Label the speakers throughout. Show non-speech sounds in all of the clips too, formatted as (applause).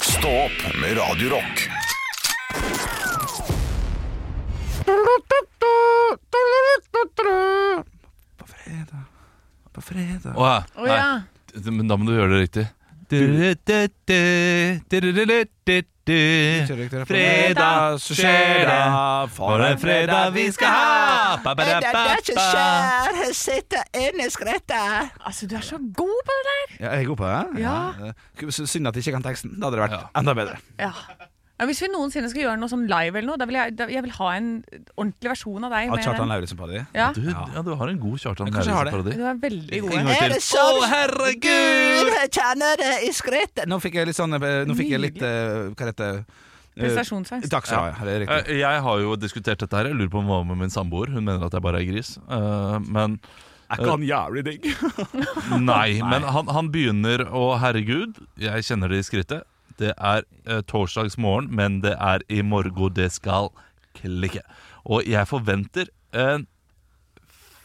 Speaker 1: Stå opp med Radio Rock.
Speaker 2: På fredag På fredag
Speaker 3: Åh,
Speaker 4: Å ja.
Speaker 3: Nei, men da må du gjøre det riktig. Fredag, så skjer det. For en fredag vi skal ha! Ba, ba, da, ba, ba.
Speaker 2: her sitter en skrette
Speaker 4: Altså, du er så god på det der.
Speaker 2: Ja, jeg er god på det
Speaker 4: Ja.
Speaker 2: Skulle- Synd at jeg ikke kan teksten Da hadde det vært
Speaker 3: Ja.
Speaker 2: enda bedre
Speaker 4: Ja. Ja, hvis vi noensinne skal gjøre noe sånn live eller noe, da vil jeg, da, jeg vil ha en ordentlig versjon av deg.
Speaker 2: Av
Speaker 4: med
Speaker 2: Kjartan
Speaker 4: den.
Speaker 2: Lauritsen på det
Speaker 4: Ja.
Speaker 3: Du, ja, du har en god Kjartan
Speaker 2: Jeg kanskje har det.
Speaker 3: Lauritzen-parodi.
Speaker 4: Du er veldig
Speaker 3: En
Speaker 4: god.
Speaker 3: gang til. Å, herregud!
Speaker 2: sånn? Jeg kjenner det i skrittet Nå fikk jeg litt sånn eh, Nå fikk jeg litt eh, Hva heter det Eh,
Speaker 4: Prestasjonsangst.
Speaker 2: Takk skal du ha Det er riktig
Speaker 3: Eh, Jeg har jo diskutert dette her. Jeg lurer på om det var med min samboer. Hun mener at jeg bare er gris. Eh, Men
Speaker 2: Jeg kan jævlig digg
Speaker 3: Nei, men han, han begynner å Herregud, jeg kjenner det i skrittet. Det er eh, torsdagsmorgen, men det er i morgen det skal klikke. Og jeg forventer en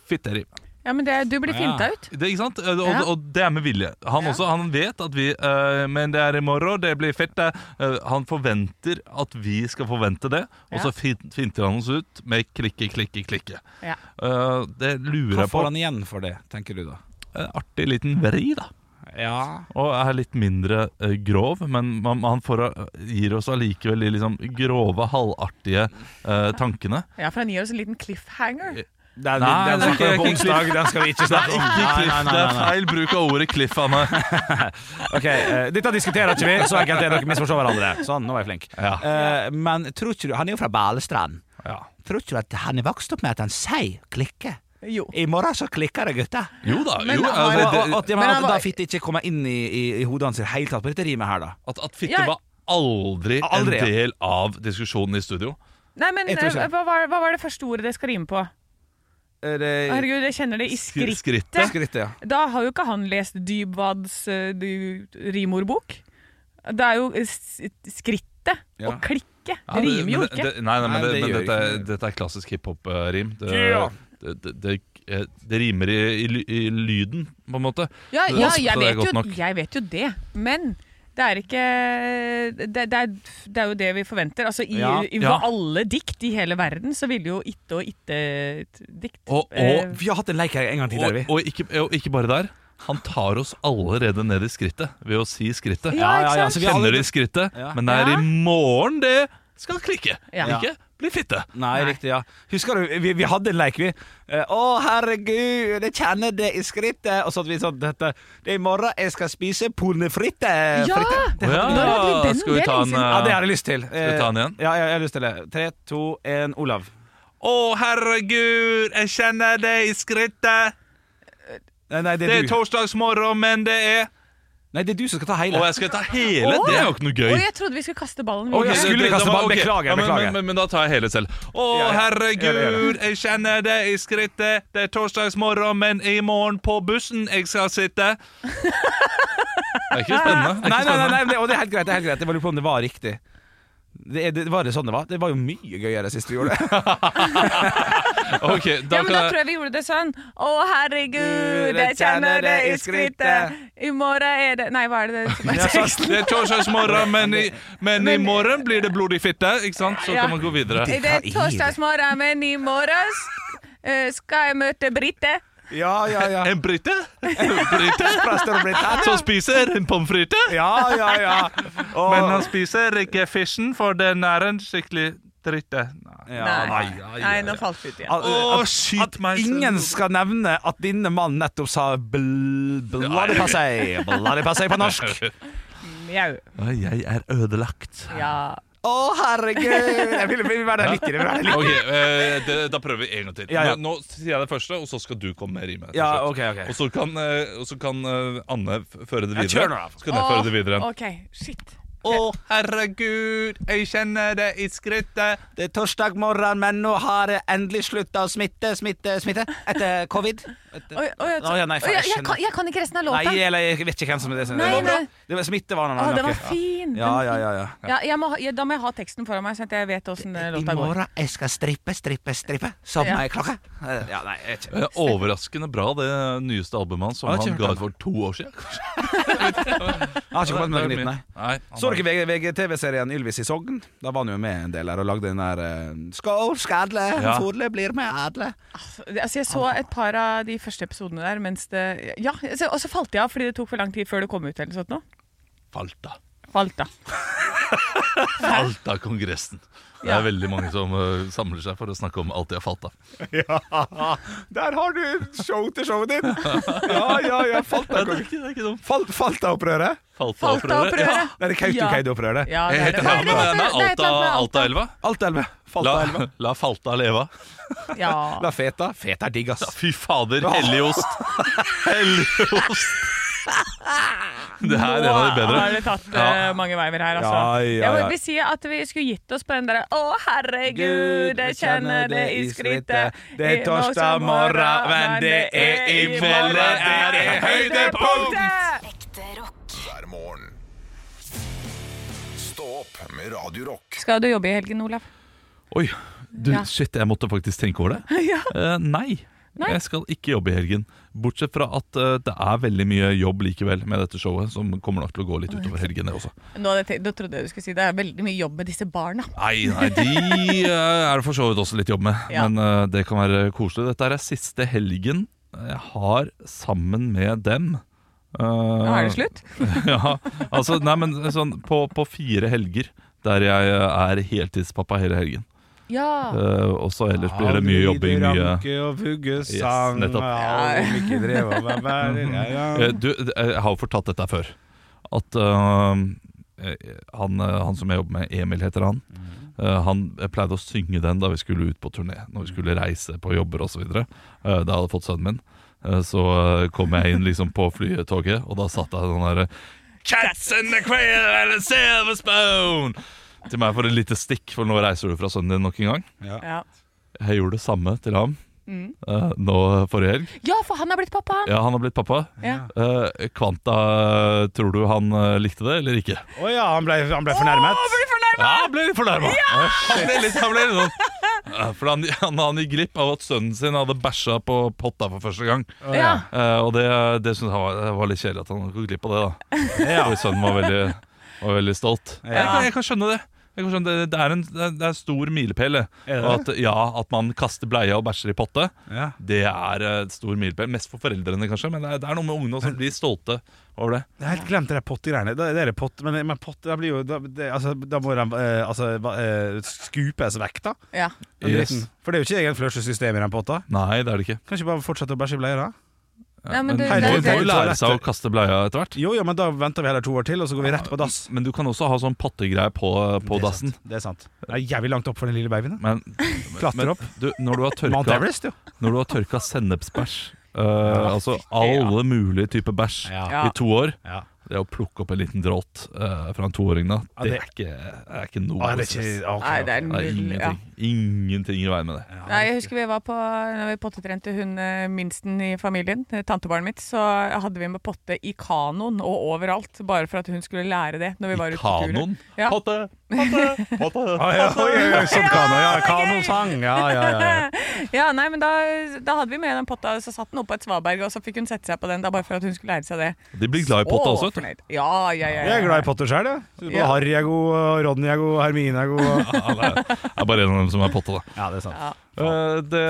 Speaker 3: fitteri.
Speaker 4: Ja, men det, du blir finta ut.
Speaker 3: Det, ikke sant? Eh, Og,
Speaker 4: Ja.
Speaker 3: og det er med vilje. Han
Speaker 4: Ja.
Speaker 3: også, han vet at vi eh, Men det er i morgen, det blir fett. Det. Eh, han forventer at vi skal forvente det, og
Speaker 4: Ja.
Speaker 3: så fin- finter han oss ut med klikke, klikke, klikke.
Speaker 4: Ja.
Speaker 3: Eh, det lurer
Speaker 2: Hva
Speaker 3: jeg på.
Speaker 2: får han igjen for det, tenker du da?
Speaker 3: En artig liten vri, da.
Speaker 2: Ja
Speaker 3: Og er litt mindre eh, grov, men man, man får, eh, gir oss allikevel de liksom grove, halvartige eh, tankene.
Speaker 4: ja, for han gir oss en liten cliffhanger.
Speaker 2: Den,
Speaker 3: Nei,
Speaker 2: den,
Speaker 3: det er
Speaker 2: snakker
Speaker 3: ikke-
Speaker 2: vi på
Speaker 3: ikke
Speaker 2: onsdag, den skal vi ikke
Speaker 3: Nei,
Speaker 2: snakke om.
Speaker 3: ikke cliff, det er feil bruk av ordet cliff, Anne.
Speaker 2: Ok, eh, Dette diskuterer ikke vi, så enkelt er dere misforstår hverandre. Sånn, nå var jeg flink.
Speaker 3: Ja.
Speaker 2: Eh, men tror ikke du Han er jo fra Balestrand.
Speaker 3: Ja.
Speaker 2: Tror ikke du at han er vokst opp med at han sier 'klikke'?
Speaker 4: Jo.
Speaker 2: I morgen så klikker det, gutter.
Speaker 3: Jo da,
Speaker 4: Men
Speaker 3: jo,
Speaker 4: har-
Speaker 3: altså,
Speaker 2: Og, og,
Speaker 3: det,
Speaker 2: og, jeg
Speaker 4: Men
Speaker 2: mener
Speaker 4: han
Speaker 2: at
Speaker 4: var-
Speaker 2: da fitte ikke kommer inn i, i, i hodet hans i det hele tatt på dette rimet her, da.
Speaker 3: at, at fitte
Speaker 4: Jeg-
Speaker 3: var aldri,
Speaker 2: Aldri, ja.
Speaker 3: en del av diskusjonen i studio.
Speaker 4: Nei, men
Speaker 2: Jeg tror ikke
Speaker 4: eh,
Speaker 2: det.
Speaker 4: hva var, hva var det første ordet det skal rime på?
Speaker 2: Er det
Speaker 4: Herregud, jeg kjenner det i
Speaker 3: Skri-
Speaker 4: skrittet.
Speaker 3: skrittet.
Speaker 2: Eh, skrittet, ja.
Speaker 4: Da har jo ikke han lest Dybwads eh, du- rimordbok. Det er jo eh, s- skrittet
Speaker 2: Ja.
Speaker 4: og klikket.
Speaker 3: Ja,
Speaker 4: Det rimer jo
Speaker 3: men-
Speaker 4: ikke.
Speaker 3: Det, nei, nei,
Speaker 2: Nei,
Speaker 3: men, det,
Speaker 2: det
Speaker 3: men
Speaker 2: gjør
Speaker 3: dette, er-
Speaker 2: ikke
Speaker 3: dette er klassisk hiphop-rim. Det,
Speaker 2: Ja.
Speaker 3: det, det, det, eh, det rimer i, i, ly- i lyden, på en måte.
Speaker 4: Ja,
Speaker 3: Det-
Speaker 4: ja
Speaker 3: så
Speaker 4: jeg,
Speaker 3: det er
Speaker 4: vet
Speaker 3: godt
Speaker 4: jo,
Speaker 3: nok.
Speaker 4: jeg vet jo det, men det er ikke Det, det, er, det er jo det vi forventer. Altså, I,
Speaker 2: Ja,
Speaker 4: i
Speaker 3: ja.
Speaker 4: alle dikt i hele verden så ville jo itte og itte-dikt
Speaker 3: Og- og-
Speaker 2: Vi har hatt en leik her en gang tidligere, vi.
Speaker 3: Og, og, ikke, og ikke bare der. Han tar oss allerede ned i skrittet ved å si skrittet.
Speaker 4: Ja, ikke sant?
Speaker 2: så vi har
Speaker 3: Kjenner
Speaker 2: aldri-
Speaker 3: de skrittet,
Speaker 2: Ja.
Speaker 3: men det er
Speaker 4: Ja.
Speaker 3: i morgen det skal klikke.
Speaker 4: Ja.
Speaker 3: Ikke bli fitte.
Speaker 2: Nei, riktig, ja. Husker du, vi, vi hadde en leik, vi. Eh, Å, herregud, jeg kjenner det i skrittet. Og så hadde vi sånn dette Det er i morgen jeg skal spise polnefritte.
Speaker 4: Ja!
Speaker 3: Å ja,
Speaker 4: Når hadde vi den
Speaker 3: skal vi ta en
Speaker 4: delen
Speaker 2: Ja, det
Speaker 3: eh,
Speaker 2: har jeg lyst til.
Speaker 3: Skal vi ta den igjen?
Speaker 2: Eh, Ja, jeg, jeg har lyst til det. Tre, to, én, Olav.
Speaker 3: Å, herregud, jeg kjenner det i skrittet.
Speaker 2: Nei, nei, det
Speaker 3: Det
Speaker 2: er
Speaker 3: er
Speaker 2: du.
Speaker 3: torsdagsmorgen, men det er
Speaker 2: Nei, det er du som skal ta
Speaker 3: Og
Speaker 2: hele.
Speaker 3: jeg skal ta hele? Det er jo ikke noe gøy.
Speaker 4: Og jeg trodde vi skulle kaste
Speaker 2: Å,
Speaker 4: ballen videre.
Speaker 2: jeg skulle
Speaker 3: Det- det-
Speaker 2: kaste
Speaker 3: det var-
Speaker 2: ball.
Speaker 3: ok.
Speaker 2: Beklager,
Speaker 3: Ja, men,
Speaker 2: beklager.
Speaker 3: Men, men, men da tar jeg hele selv. Å,
Speaker 2: Ja, ja. Ja, det gjør
Speaker 3: herregud, jeg kjenner det i skrittet. Det er torsdagsmorgen, men i morgen på bussen jeg skal sitte. Det er ikke spennende. Det
Speaker 2: Nei, nei,
Speaker 3: er ikke
Speaker 2: nei,
Speaker 3: spennende.
Speaker 2: sånn, nei det, og det er helt greit. Det er helt greit. Jeg bare lurer på om det var riktig. Det, er- det var det sånn det var? Det var jo mye gøyere sist vi gjorde det.
Speaker 3: Ok, da
Speaker 4: ja, men
Speaker 3: kan
Speaker 4: da
Speaker 3: jeg
Speaker 4: tror jeg vi gjorde det sånn. Å, herregud,
Speaker 2: Jeg
Speaker 4: jeg kjenner det i skrittet.
Speaker 2: skrittet.
Speaker 4: I morgen er det Nei, hva er det som er (laughs) teksten?
Speaker 3: Det er torsdagsmorgen, men, i- men i morgen blir det blodig fitte. Ikke sant? Så
Speaker 4: Ja.
Speaker 3: kan man gå videre.
Speaker 4: Det er torsdagsmorgen, men i morgen eh, skal jeg møte Britte.
Speaker 2: Ja, ja, ja.
Speaker 3: En brite? En (laughs) brite
Speaker 2: Fra Storbritannia.
Speaker 3: som spiser en pommes frites?
Speaker 2: Ja, ja, ja. Og,
Speaker 3: Men han spiser ikke fisken, for den er en skikkelig dritte.
Speaker 2: ja,
Speaker 4: Nei, nå falt vi ut igjen.
Speaker 2: At,
Speaker 3: Å,
Speaker 2: at,
Speaker 3: skyt
Speaker 2: at
Speaker 3: meg, så-
Speaker 2: ingen skal nevne at denne mannen nettopp sa bl bloody passé. Bloody passé på
Speaker 3: (laughs)
Speaker 2: (laughs) norsk.
Speaker 4: Mjau.
Speaker 3: Jeg er ødelagt.
Speaker 4: Ja.
Speaker 2: Å, herregud! Jeg vil, vil være der litt. Jeg vil være der litt.
Speaker 3: Ok, eh, det, Da prøver vi en gang til.
Speaker 2: Ja, ja.
Speaker 3: Nå, nå sier jeg det første, og så skal du komme med rimet. til
Speaker 2: Ja,
Speaker 3: slutt.
Speaker 2: ok, ok.
Speaker 3: Og så kan, eh, og så kan eh, Anne f- føre det
Speaker 2: Ja,
Speaker 3: videre.
Speaker 2: kjør nå, da.
Speaker 3: Så kan jeg føre det videre.
Speaker 4: Åh, OK. Shit.
Speaker 3: Å, herregud, jeg kjenner det i skrittet.
Speaker 2: Det er torsdag morgen, men nå har det endelig slutta å smitte, smitte, smitte etter covid.
Speaker 4: Oi, oi, jeg-
Speaker 2: Å, ja, nei, faen,
Speaker 5: Å, jeg,
Speaker 2: jeg
Speaker 5: jeg, kan,
Speaker 2: skjønner.
Speaker 5: jeg kan ikke resten av
Speaker 2: Nei,
Speaker 5: låta.
Speaker 2: eller jeg vet ikke hvem som er det. som-
Speaker 5: Nei,
Speaker 2: det var-
Speaker 5: nei.
Speaker 2: Det var smittevanene.
Speaker 4: Å,
Speaker 2: nok,
Speaker 4: den var
Speaker 2: ja.
Speaker 4: fin! den
Speaker 2: Ja,
Speaker 4: var
Speaker 2: ja,
Speaker 4: fin.
Speaker 2: ja, ja.
Speaker 4: Ja, jeg må, ha- jeg, da må jeg ha teksten foran meg, sånn at jeg vet åssen låta går.
Speaker 2: jeg skal strippe, strippe, strippe som
Speaker 4: Ja.
Speaker 2: ei klokke. Eh, Ja, nei, jeg vet ikke.
Speaker 3: Eh, Overraskende bra, det nyeste albumet hans, som
Speaker 2: Jeg har ikke
Speaker 3: han
Speaker 2: hørt den.
Speaker 3: ga ut for to år siden. kanskje.
Speaker 2: Jeg har ikke kommet med noe
Speaker 3: Det er
Speaker 2: nytt, nei.
Speaker 3: mye. nei han
Speaker 2: Så
Speaker 3: har-
Speaker 2: dere VG VGTV-serien Ylvis i Sogn? Da var han jo med en del her og lagde den der eh, Skål, skadle,
Speaker 3: Ja.
Speaker 2: fodle blir med adle.
Speaker 4: Altså, jeg så et par av de første episodene der, mens det Ja, så- og så falt jeg av fordi det tok for lang tid før det kom ut eller sånt noe.
Speaker 3: Falta.
Speaker 4: Falt, da.
Speaker 3: Falta-kongressen. Det er
Speaker 4: Ja.
Speaker 3: veldig mange som eh, samler seg for å snakke om alt de har falt av.
Speaker 2: Ja, der har du show til showet ditt! Ja, ja, ja,
Speaker 3: Ja, det er ikke, det er ikke dumt.
Speaker 2: Falt, Falta-opprøret?
Speaker 4: Falta-opprøret.
Speaker 3: Ja.
Speaker 2: Nei, det er Kautokeino-opprøret.
Speaker 4: Ja,
Speaker 3: Jeg
Speaker 4: det er
Speaker 3: heter
Speaker 4: det.
Speaker 3: Nei, nei,
Speaker 5: det er
Speaker 3: nei,
Speaker 5: et eller
Speaker 3: Alta,
Speaker 5: annet med Alta.
Speaker 3: Altaelva.
Speaker 2: Altaelva.
Speaker 3: La,
Speaker 2: Faltaelva.
Speaker 3: (laughs) la Falta leve.
Speaker 4: Ja.
Speaker 2: La feta. Feta er digg, ass.
Speaker 3: Fy fader, helligost. Helligost. Det her er en av de
Speaker 4: Nå
Speaker 3: bedre.
Speaker 4: har det tatt eh, mange veiver her, altså.
Speaker 2: Ja, ja,
Speaker 4: Jeg
Speaker 2: ja.
Speaker 4: må vil si at vi skulle gitt oss på den derre Å, herregud, jeg kjenner det i skrittet.
Speaker 2: Det er torsdag morgen, men det er i kveld. Det er i høydepunkt!
Speaker 5: Ekte rock.
Speaker 1: hver morgen. Stå opp med Radio Rock.
Speaker 4: Skal du jobbe i helgen, Olav?
Speaker 3: Oi, du,
Speaker 4: Ja.
Speaker 3: shit, jeg måtte faktisk tenke over det.
Speaker 4: Ja.
Speaker 3: Eh, nei.
Speaker 4: Nei.
Speaker 3: Jeg skal ikke jobbe i helgen. Bortsett fra at eh, det er veldig mye jobb likevel med dette showet, som kommer nok til å gå litt utover helgen, det også.
Speaker 4: Nå, hadde jeg tenkt- nå trodde jeg du skulle si det er veldig mye jobb med disse barna.
Speaker 3: Nei, nei, de eh, er det for så vidt også litt jobb med.
Speaker 4: Ja.
Speaker 3: Men eh, det kan være koselig. Dette er siste helgen jeg har sammen med dem. Eh,
Speaker 4: Nå er det slutt.
Speaker 3: (laughs) ja, altså, nei, men sånn på, på fire helger der jeg er heltidspappa hele helgen.
Speaker 4: Ja.
Speaker 3: Eh, og så ellers blir det mye jobbing, mye
Speaker 2: og
Speaker 3: vuggesang, Yes, nettopp.
Speaker 4: ja, om
Speaker 3: (laughs) Eh, Du, eh, jeg har jo fortalt dette her før. At eh, eh, han, eh, han som jeg jobber med, Emil heter han, eh, han pleide å synge den da vi skulle ut på turné. Når vi skulle reise på jobber osv. Uh, da jeg hadde fått sønnen min. eh, Så eh, kom jeg inn liksom på flytoget, og da satt jeg sånn derre Cats in the quail and a silver spoon! Til meg for et lite stikk, for nå reiser du fra sønnen din nok en gang.
Speaker 4: Ja.
Speaker 3: Jeg gjorde det samme til ham eh, nå forrige helg.
Speaker 4: ja, for han er blitt pappa, han.
Speaker 3: Ja, han har blitt pappa.
Speaker 4: Ja.
Speaker 3: Eh, Kvanta, tror du han eh, likte det eller ikke?
Speaker 2: Å ja, han ble, han ble fornærmet.
Speaker 3: Ja, han ble litt fornærma! Han ble litt, han ble litt sånn Eh, For han, han, han gikk glipp av at sønnen sin hadde bæsja på potta for første gang.
Speaker 4: Ja.
Speaker 3: Eh, og det, det syntes han var, det var litt kjedelig at han gikk glipp av det, da. Fordi sønnen var veldig, var veldig stolt. Jeg, kan- jeg kan skjønne det. Jeg kan skjønne det. Det er en det er- det er en stor milepæl. det.
Speaker 2: Er det
Speaker 3: Og At, ja, at man kaster bleia og bæsjer i potte.
Speaker 2: Ja.
Speaker 3: Det er et stor milepæl. Mest for foreldrene, kanskje, men det er, det er noe med ungene som blir stolte over det.
Speaker 2: Jeg har helt glemt det der pottegreiene. Da- Det er det pott, men, men pott, da blir jo Da, det, altså, da må den eh, altså, va- eh, skupes vekk, da.
Speaker 4: Ja.
Speaker 2: Den
Speaker 3: Yes.
Speaker 2: dritten. For det er jo ikke egen fløsjesystem i den potta.
Speaker 3: Nei, det er det ikke.
Speaker 2: Kan ikke bare fortsette å bæsje i bleia, da?
Speaker 4: Nei,
Speaker 3: Men
Speaker 4: men du,
Speaker 3: man
Speaker 2: Herregud,
Speaker 3: må
Speaker 4: det,
Speaker 3: må jo
Speaker 2: det-
Speaker 3: lære seg å kaste bleia etter hvert.
Speaker 2: Jo, jo, men da venter vi heller to år til, og så går vi rett på dass.
Speaker 3: Men du kan også ha sånn pottegreie på, på
Speaker 2: Det er
Speaker 3: dassen.
Speaker 2: sant. Det er sant. Det er jævlig langt opp for den lille babyen. da.
Speaker 4: (laughs)
Speaker 3: Men,
Speaker 2: Klatre
Speaker 3: men
Speaker 2: opp.
Speaker 3: du, når du har
Speaker 2: Mount
Speaker 3: tørka,
Speaker 2: Everest, jo.
Speaker 3: når du har tørka sennepsbæsj, eh, altså
Speaker 4: ja.
Speaker 3: alle mulige typer bæsj
Speaker 2: Ja.
Speaker 3: i to år
Speaker 2: Ja.
Speaker 3: Det å plukke opp en liten dråt eh, fra en toåring, da,
Speaker 2: Ja,
Speaker 3: det
Speaker 2: det-
Speaker 3: er ikke, er ikke noe
Speaker 2: Å, det er
Speaker 3: stress.
Speaker 2: ikke
Speaker 4: nei, det
Speaker 3: Det
Speaker 4: er
Speaker 3: er
Speaker 4: null. Ja.
Speaker 3: ingenting, ingenting i veien med det.
Speaker 4: Nei, jeg husker vi var på Når vi pottetrente hun eh, minsten i familien, eh, tantebarnet mitt, så hadde vi med potte i kanoen og overalt, bare for at hun skulle lære det når vi var
Speaker 3: I
Speaker 4: ute på tur. (laughs)
Speaker 3: kanoen?
Speaker 4: Ja.
Speaker 3: Potte, potte,
Speaker 4: (laughs)
Speaker 3: potte!
Speaker 2: Oi, oi, oi, sånn kano, ja, kanosang. Ja, ja, ja. ja.
Speaker 4: Ja, nei, men da, da hadde vi med den potta, så satt den oppå et svaberg, og så fikk hun sette seg på den, da bare for at hun skulle lære seg det.
Speaker 3: De blir glad i potte også, vet du.
Speaker 4: vet du. Ja, ja, ja. ja.
Speaker 2: Jeg er glad i Potter sjøl, jeg. Synes Både
Speaker 4: Ja.
Speaker 2: Harry er god, og Ronny er god, og Hermine er god.
Speaker 3: Ja, det er- det er bare en av dem som er potte, da.
Speaker 2: Ja, det er sant.
Speaker 4: Ja.
Speaker 3: Eh, det,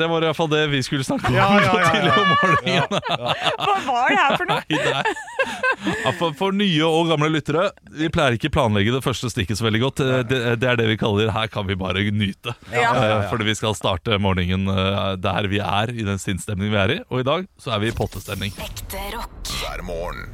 Speaker 3: det var iallfall det vi skulle snakke om
Speaker 2: Ja, ja,
Speaker 3: (laughs)
Speaker 2: ja, ja.
Speaker 3: tidlig om morgenen.
Speaker 4: (laughs) Hva var det her for noe?
Speaker 3: Nei, nei. Ja, for, for nye og gamle lyttere, vi pleier ikke planlegge det første stikket så veldig godt. Eh, Det, det er det vi kaller 'her kan vi bare nyte'.
Speaker 4: Ja.
Speaker 3: Eh, Fordi vi skal starte morgenen eh, der vi er, i den sinnsstemningen vi er i. Og i dag så er vi i pottestemning.
Speaker 5: Ekte rock.
Speaker 1: hver morgen.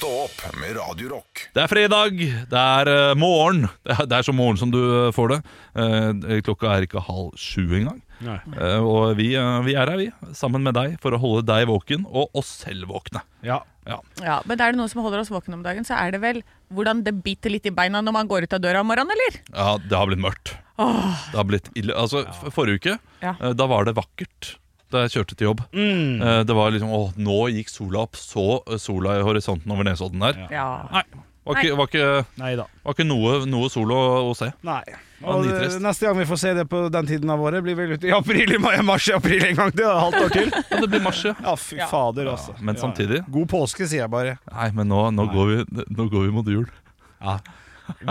Speaker 1: Stå opp med Radio Rock.
Speaker 3: Det er fredag, det er eh, morgen. Det er, det er så morgen som du eh, får det. Eh, Klokka er ikke halv sju engang.
Speaker 2: Nei.
Speaker 3: Eh, Og vi, eh, vi er her, vi, sammen med deg, for å holde deg våken og oss selv våkne.
Speaker 2: Ja.
Speaker 4: (laughs) Ja, men er det noe som holder oss våkne om dagen, så er det vel hvordan det biter litt i beina når man går ut av døra om morgenen, eller?
Speaker 3: Ja, det har blitt mørkt. Det har blitt ille. Altså, f- Forrige uke
Speaker 4: Ja.
Speaker 3: eh, da var det vakkert. da jeg kjørte til jobb.
Speaker 2: Mm.
Speaker 3: Eh, Det var liksom, åh, nå gikk sola opp, så eh, sola i horisonten over Nesodden der.
Speaker 4: Ja.
Speaker 3: Nei, var ikke, var ikke,
Speaker 2: Nei da.
Speaker 3: var ikke noe, noe sol å, å se.
Speaker 2: Nei.
Speaker 3: var
Speaker 2: Og eh,
Speaker 3: nitrist.
Speaker 2: neste gang vi får se det på den tiden av året, blir vel ute i april, i mai, mars, i april en gang til. da. Halvt år til.
Speaker 3: Ja, det blir mars, ja.
Speaker 2: Ja, fy
Speaker 4: Ja.
Speaker 2: fader, altså.
Speaker 3: Men
Speaker 2: Ja.
Speaker 3: samtidig
Speaker 2: God påske, sier jeg bare.
Speaker 3: Nei, men nå, nå, Går, vi, nå går vi mot jul.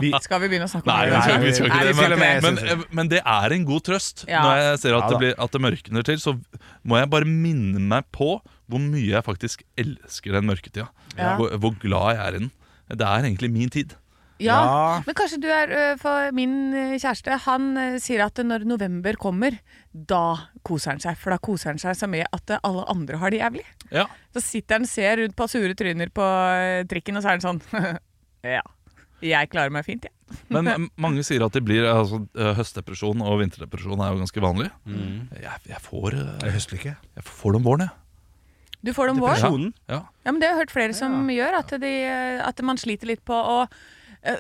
Speaker 2: Vi,
Speaker 4: Skal vi begynne å snakke om
Speaker 3: Nei,
Speaker 4: det?
Speaker 3: vi skal,
Speaker 2: nei, nei, vi
Speaker 3: vi skal ikke
Speaker 2: skal
Speaker 3: det.
Speaker 2: ikke det,
Speaker 3: Men,
Speaker 2: synes
Speaker 3: men, men det er en god trøst.
Speaker 4: Ja.
Speaker 3: Når jeg ser at,
Speaker 2: Ja, da.
Speaker 3: det blir, at det mørkner til, så må jeg bare minne meg på hvor mye jeg faktisk elsker den mørketida.
Speaker 4: Ja.
Speaker 3: Hvor, hvor glad jeg er i den. Det er egentlig min tid.
Speaker 4: Ja,
Speaker 2: Ja.
Speaker 4: men kanskje du er ø, For min ø, kjæreste Han ø, sier at når november kommer Da koser han seg For da koser han seg så mye at ø, alle andre har det jævlig
Speaker 3: Ja.
Speaker 4: Så sitter han og ser rundt på sure tryner på ø, trikken Og så er han sånn (laughs) Ja, jeg klarer meg fint, ja
Speaker 3: Men m- mange sier at de blir altså, eh, høstdepresjon og vinterdepresjon er jo ganske vanlig. Jeg, jeg, får, eh,
Speaker 2: jeg husker ikke.
Speaker 3: jeg får det om våren, jeg.
Speaker 4: Du får det om vår
Speaker 2: Depresjonen.
Speaker 3: Ja.
Speaker 4: Ja, men det har jeg hørt flere som gjør At, de, ø, at man sliter litt på å ø,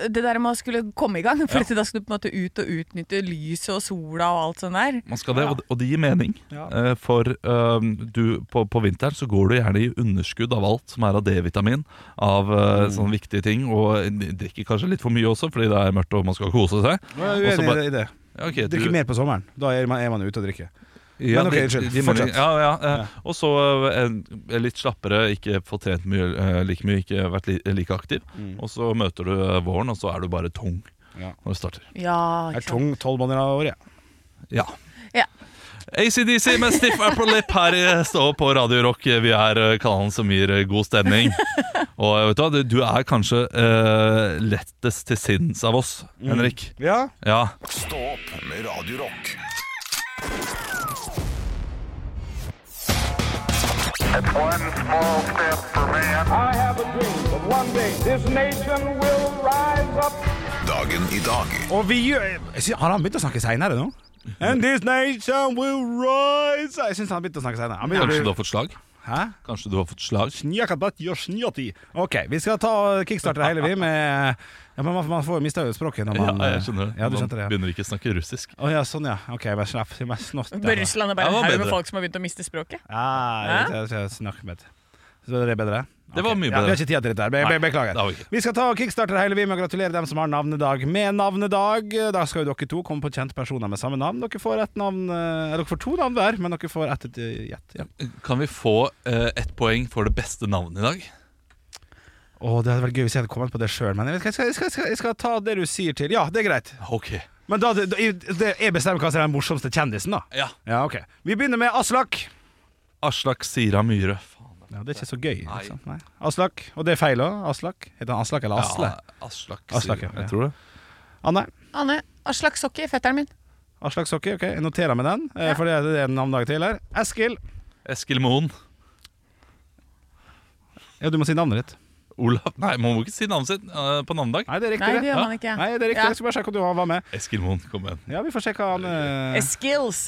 Speaker 4: det der med å skulle komme i gang (laughs) For at da skal du på en måte ut og utnytte lyset og sola og alt sånt der
Speaker 3: Man skal det, og, og det gir mening.
Speaker 2: Ja.
Speaker 3: Eh, For eh, du, på, på vinteren så går du gjerne i underskudd av alt som er av D-vitamin, av eh,
Speaker 2: Mm.
Speaker 3: sånne viktige ting, og eh, drikker kanskje litt for mye også, fordi det er mørkt og man skal kose seg.
Speaker 2: Nå er
Speaker 3: Og
Speaker 2: jeg
Speaker 3: så
Speaker 2: uenig i
Speaker 3: bare-
Speaker 2: det- i det.
Speaker 3: Ja, ok, du-
Speaker 2: Drikke mer på sommeren. Da er man, er man ute og drikker.
Speaker 3: Ja,
Speaker 2: Men ok,
Speaker 3: det-
Speaker 2: unnskyld,
Speaker 3: det gir mening.
Speaker 2: fortsett.
Speaker 3: Ja, ja, eh, Og så eh, en- litt slappere, ikke fått trent mye, eh, like mye, ikke vært li, like aktiv. Og så møter du eh, våren, og så er du bare tung
Speaker 2: Mm. Ja.
Speaker 3: når du starter.
Speaker 4: Ja,
Speaker 2: Jeg er
Speaker 4: ikke sant?
Speaker 2: tung tolv måneder av året. jeg.
Speaker 3: Ja.
Speaker 4: Ja.
Speaker 3: ACDC med Stiff Upper Lip her i Stå på Radio Rock. Vi er eh, kanalen som gir eh, god stemning. Og eh, vet du hva, du- du er kanskje eh, lettest til sinns av oss,
Speaker 2: Mm.
Speaker 3: Henrik.
Speaker 2: Ja.
Speaker 3: Ja.
Speaker 1: Stå opp med Radio Rock.
Speaker 6: I have a dream that one day this nation will rise up.
Speaker 1: Dagen i dag
Speaker 2: Og vi gjør jeg sy- Har han begynt å snakke seinere nå? And this nation will rise Jeg syns han har begynt å snakke seinere. Han begynner å
Speaker 3: Kanskje du
Speaker 2: bli-
Speaker 3: har fått slag?
Speaker 2: Hæ?
Speaker 3: Kanskje du har fått slag?
Speaker 2: Snjakabat, gjør snjati. Ok, vi skal ta kickstarter hele vi med ja, men man, man får mista jo språket når
Speaker 3: Ja,
Speaker 2: man
Speaker 3: jeg skjønner det.
Speaker 2: Ja, du
Speaker 3: Man
Speaker 2: skjønte det, ja.
Speaker 3: begynner ikke å snakke russisk.
Speaker 2: Å ja, sånn ja. Ok, vær slapp. Vær snott.
Speaker 4: På Russland er bare
Speaker 3: Ja, det var
Speaker 4: en haug med
Speaker 3: bedre.
Speaker 4: folk som har begynt å miste språket.
Speaker 2: Ja, Ah, jeg, jeg, jeg snakker med det. Så er det bedre?
Speaker 3: Det var
Speaker 2: Ok. Ja, vi
Speaker 3: mye bedre.
Speaker 2: har ikke tid til dette her. Be
Speaker 3: Nei,
Speaker 2: be beklager.
Speaker 3: det har vi ikke.
Speaker 2: Vi skal ta kickstarter hele vi med å gratulere dem som har navnedag med navnedag. Da skal jo dere to komme på kjente personer med samme navn. Dere får ett navn eh, Dere får to navn hver, men dere får ett et eh, gjett. Ja.
Speaker 3: Kan vi få eh, ett poeng for det beste navnet i dag?
Speaker 2: Å, det hadde vært gøy hvis jeg hadde kommet på det sjøl, men jeg, vet, ikke, jeg, skal, jeg, skal, jeg skal ta det du sier til Ja, det er greit.
Speaker 3: Ok.
Speaker 2: Men da, da jeg, det- jeg bestemmer hva som er den morsomste kjendisen, da.
Speaker 3: Ja.
Speaker 2: Ja, ok Vi begynner med Aslak.
Speaker 3: Aslak Sira Myhre. Faen.
Speaker 2: Ja, Det er ikke så gøy.
Speaker 3: Nei.
Speaker 2: Liksom. Nei. Aslak. Og det er feil òg. Aslak. Heter han Aslak eller Asle?
Speaker 3: Ja, Aslak,
Speaker 2: Aslak,
Speaker 3: Sira.
Speaker 2: ja.
Speaker 3: Jeg tror det.
Speaker 2: Anne.
Speaker 4: Anne, Aslak Sokki, fetteren min.
Speaker 2: Aslak Sokki, ok, jeg noterer med den, eh,
Speaker 4: Ja.
Speaker 2: for det er det en navndag til her. Eskil.
Speaker 3: Eskil Moen.
Speaker 2: Ja, du må si navnet ditt.
Speaker 3: Olav Nei, man må ikke si navnet sitt eh, på navnedag.
Speaker 2: Nei, det er riktig.
Speaker 4: Nei, det
Speaker 2: det.
Speaker 4: gjør man ikke.
Speaker 2: Nei, det er riktig.
Speaker 4: Ja.
Speaker 2: Jeg skal bare sjekke om du var med.
Speaker 3: Eskil Moen, kom igjen.
Speaker 2: Ja, vi får sjekke han eh,
Speaker 4: Eskils.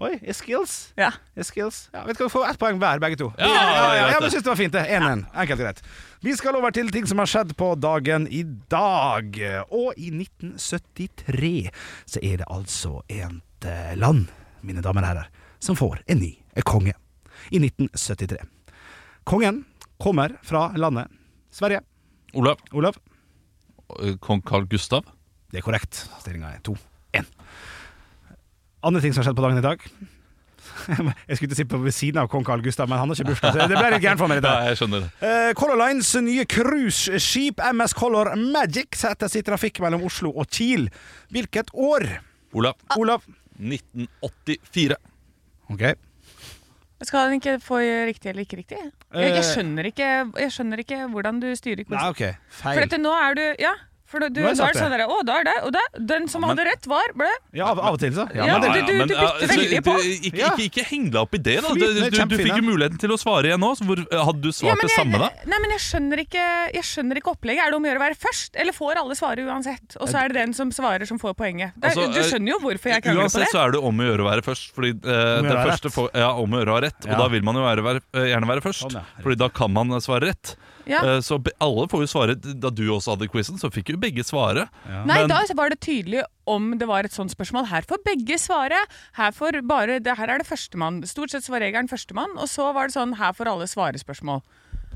Speaker 2: Oi, Eskils.
Speaker 4: Ja.
Speaker 2: Eskils. Eh, Ja, vet du hva, vi får ett poeng hver, begge to.
Speaker 3: Ja, ja,
Speaker 2: ja,
Speaker 3: ja, jeg vet
Speaker 2: men jeg
Speaker 3: det.
Speaker 2: synes det var fint, det. 1-1. Enkelt og greit. Vi skal over til ting som har skjedd på dagen i dag. Og i 1973 så er det altså et eh, land, mine damer og herrer, som får en ny eh, konge. I 1973. Kongen kommer fra landet Sverige.
Speaker 3: Olav.
Speaker 2: Olav?
Speaker 3: eh, Kong Carl Gustav.
Speaker 2: Det er korrekt. Stillinga er 2-1. Andre ting som har skjedd på dagen i dag. (laughs) Jeg skulle ikke si på ved siden av kong Carl Gustav, men han har ikke bursdag. så Det ble litt gærent for meg.
Speaker 3: Ja,
Speaker 2: dette.
Speaker 3: jeg skjønner det.
Speaker 2: Eh, Color Lines nye cruiseskip MS Color Magic setter sitt trafikk mellom Oslo og Kiel. Hvilket år?
Speaker 3: Olav.
Speaker 4: Ah.
Speaker 2: Olav?
Speaker 3: 1984.
Speaker 2: Ok.
Speaker 4: Skal han ikke få riktig eller ikke riktig? Jeg, jeg, skjønner, ikke, jeg skjønner ikke hvordan du styrer
Speaker 2: Eh. Nei,
Speaker 4: quizen.
Speaker 2: ok.
Speaker 4: For
Speaker 2: Feil.
Speaker 4: dette, nå er du Ja. For du, du,
Speaker 2: Nå har jeg
Speaker 4: da
Speaker 2: sagt
Speaker 4: er det sånn der, Å, da er det Og da, den som
Speaker 3: men-
Speaker 4: hadde rett, var ble
Speaker 2: Ja, av, av og til, så.
Speaker 4: Ja, men det- du- du- du bytter
Speaker 3: eh,
Speaker 4: veldig på.
Speaker 3: du- Ikke,
Speaker 2: Ja.
Speaker 3: ikke, ikke heng deg opp i det, da.
Speaker 2: Flyt
Speaker 3: Du,
Speaker 2: ned,
Speaker 3: du, du fikk
Speaker 2: kjempefine.
Speaker 3: jo muligheten til å svare igjen nå. Så hvor, eh, hadde du svart
Speaker 4: men
Speaker 3: det
Speaker 4: jeg,
Speaker 3: samme da?
Speaker 4: Nei, men jeg skjønner, ikke, jeg skjønner ikke opplegget. Er det om å gjøre å være først, eller får alle svare uansett? Og så er det den som svarer, som får poenget. Det, er-
Speaker 3: Altså,
Speaker 4: du
Speaker 3: eh,
Speaker 4: skjønner jo hvorfor jeg krangler på
Speaker 3: Uansett
Speaker 4: det.
Speaker 3: så er det om å gjøre å være først. Fordi
Speaker 2: Om
Speaker 3: eh,
Speaker 2: å
Speaker 3: det
Speaker 2: gjøre å ha
Speaker 3: første
Speaker 2: rett.
Speaker 3: får, ja, om å gjøre å ha rett.
Speaker 2: Ja.
Speaker 3: Og da vil man jo være, være, eh, gjerne være først.
Speaker 2: Sånn, ja.
Speaker 3: Fordi da kan man eh, svare rett.
Speaker 4: Ja.
Speaker 3: Eh, Så be- alle får jo svare. Da du også hadde quizen, så fikk jo begge svare.
Speaker 4: Nei,
Speaker 3: Men-
Speaker 4: da var det tydelig om det var et sånt spørsmål. Her får begge svare. Her, får bare, det, her er det førstemann. Stort sett så var regelen førstemann, og så var det sånn her får alle svare spørsmål.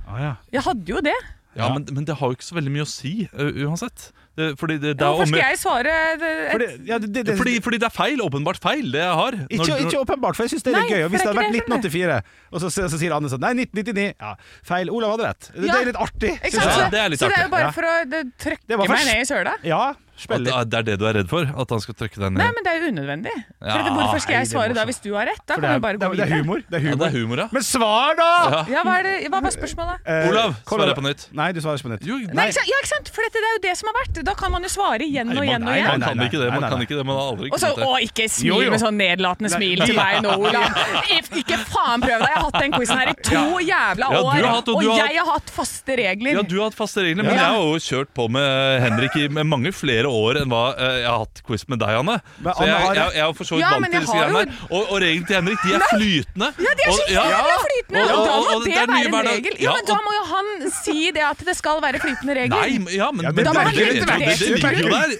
Speaker 2: Ah, ja.
Speaker 4: Jeg hadde jo det.
Speaker 3: Ja, Men, men det har jo ikke så veldig mye å si eh, uansett. Det, fordi, det, det er
Speaker 4: Hvorfor
Speaker 3: om-
Speaker 4: skal jeg svare eh, det-
Speaker 2: Fordi, ja, det, det, det,
Speaker 3: fordi, fordi det er feil. Åpenbart feil, det jeg har. Når-
Speaker 2: ikke, ikke åpenbart, for jeg syns det er litt
Speaker 4: Nei,
Speaker 2: gøy. Og
Speaker 4: for
Speaker 2: hvis
Speaker 4: det
Speaker 2: det
Speaker 4: er
Speaker 2: hadde vært
Speaker 4: ikke det
Speaker 2: 1984, og så, så, så sier Anne sånn Nei, 1999. Ja, feil. Olav hadde rett. Det,
Speaker 4: Ja.
Speaker 2: det er litt artig.
Speaker 4: Ikke
Speaker 2: synes
Speaker 4: sant?
Speaker 2: jeg.
Speaker 3: Ja,
Speaker 4: Så-
Speaker 3: det er litt
Speaker 4: så det er
Speaker 3: artig.
Speaker 4: jo bare
Speaker 2: Ja.
Speaker 4: for å det,
Speaker 2: Det
Speaker 4: trøkke
Speaker 2: var
Speaker 4: meg
Speaker 2: først.
Speaker 4: ned i søla.
Speaker 2: Ja,
Speaker 3: At
Speaker 2: spille litt.
Speaker 3: det er det du er redd for? At han skal trykke deg
Speaker 4: Nei,
Speaker 3: ned?
Speaker 4: men det er jo unødvendig. For
Speaker 3: Ja,
Speaker 4: at hvorfor skal
Speaker 2: nei,
Speaker 4: jeg
Speaker 2: det må
Speaker 4: svare da
Speaker 2: så-
Speaker 4: hvis du har rett? Da
Speaker 2: For
Speaker 4: kan vi bare
Speaker 2: det,
Speaker 4: gå
Speaker 2: er, det er
Speaker 4: videre.
Speaker 2: humor. Det er
Speaker 3: Ja,
Speaker 2: humor.
Speaker 3: det er humor, ja.
Speaker 2: Men svar, da!
Speaker 3: Ja.
Speaker 4: Ja, hva, er det, hva var spørsmålet?
Speaker 2: Eh,
Speaker 3: Olav,
Speaker 2: kom
Speaker 3: svarer
Speaker 2: da.
Speaker 3: på nytt.
Speaker 2: Nei, du svarer ikke på nytt.
Speaker 3: Jo,
Speaker 4: Nei, ikke sant? Ja, ikke sant? For dette, det er jo det som har vært. Da kan man jo svare igjen og
Speaker 3: Nei,
Speaker 4: igjen
Speaker 3: man,
Speaker 4: og
Speaker 2: nei,
Speaker 4: igjen.
Speaker 3: man kan ikke det. Man
Speaker 2: nei,
Speaker 3: kan
Speaker 2: nei.
Speaker 3: ikke det, man har aldri
Speaker 4: Og så,
Speaker 3: kunnet det.
Speaker 4: å, ikke smil
Speaker 2: Jo, jo.
Speaker 4: med sånn nedlatende smil
Speaker 2: Nei.
Speaker 4: til meg
Speaker 3: (laughs)
Speaker 4: nå, Olav. If- Ikke faen prøv deg! Jeg har hatt den quizen her i to jævla
Speaker 3: Ja, du
Speaker 4: år,
Speaker 3: har hatt, og
Speaker 4: og
Speaker 3: du har hatt-
Speaker 4: jeg har hatt faste regler.
Speaker 3: Ja, du har hatt faste regler, men
Speaker 4: Ja.
Speaker 3: jeg har jo kjørt på med eh, Henrik i med mange flere år enn hva eh, jeg har hatt quiz med deg, Anne.
Speaker 2: Men
Speaker 3: Så
Speaker 2: Anne
Speaker 3: jeg,
Speaker 2: har-
Speaker 3: jeg, jeg er for så vidt
Speaker 4: Ja,
Speaker 3: vant
Speaker 4: men
Speaker 3: til
Speaker 4: jeg
Speaker 3: disse
Speaker 4: har
Speaker 3: greiene
Speaker 4: jo-
Speaker 3: her. Og, og reglene til Henrik, de er flytende.
Speaker 4: Ja, de er så
Speaker 3: Og-
Speaker 4: jævla flytende! Og, da må det,
Speaker 3: er nye
Speaker 4: være en
Speaker 3: hverdag-
Speaker 4: regel.
Speaker 3: Ja,
Speaker 4: Ja, men da
Speaker 3: og-
Speaker 4: må jo han si det at det skal være flytende regler.
Speaker 3: Nei, men- ja, men,
Speaker 2: Ja, men
Speaker 3: men
Speaker 2: da må
Speaker 3: det-
Speaker 2: han
Speaker 3: det-
Speaker 4: lytte til
Speaker 3: det- Det
Speaker 2: deg.
Speaker 3: ligger jo der.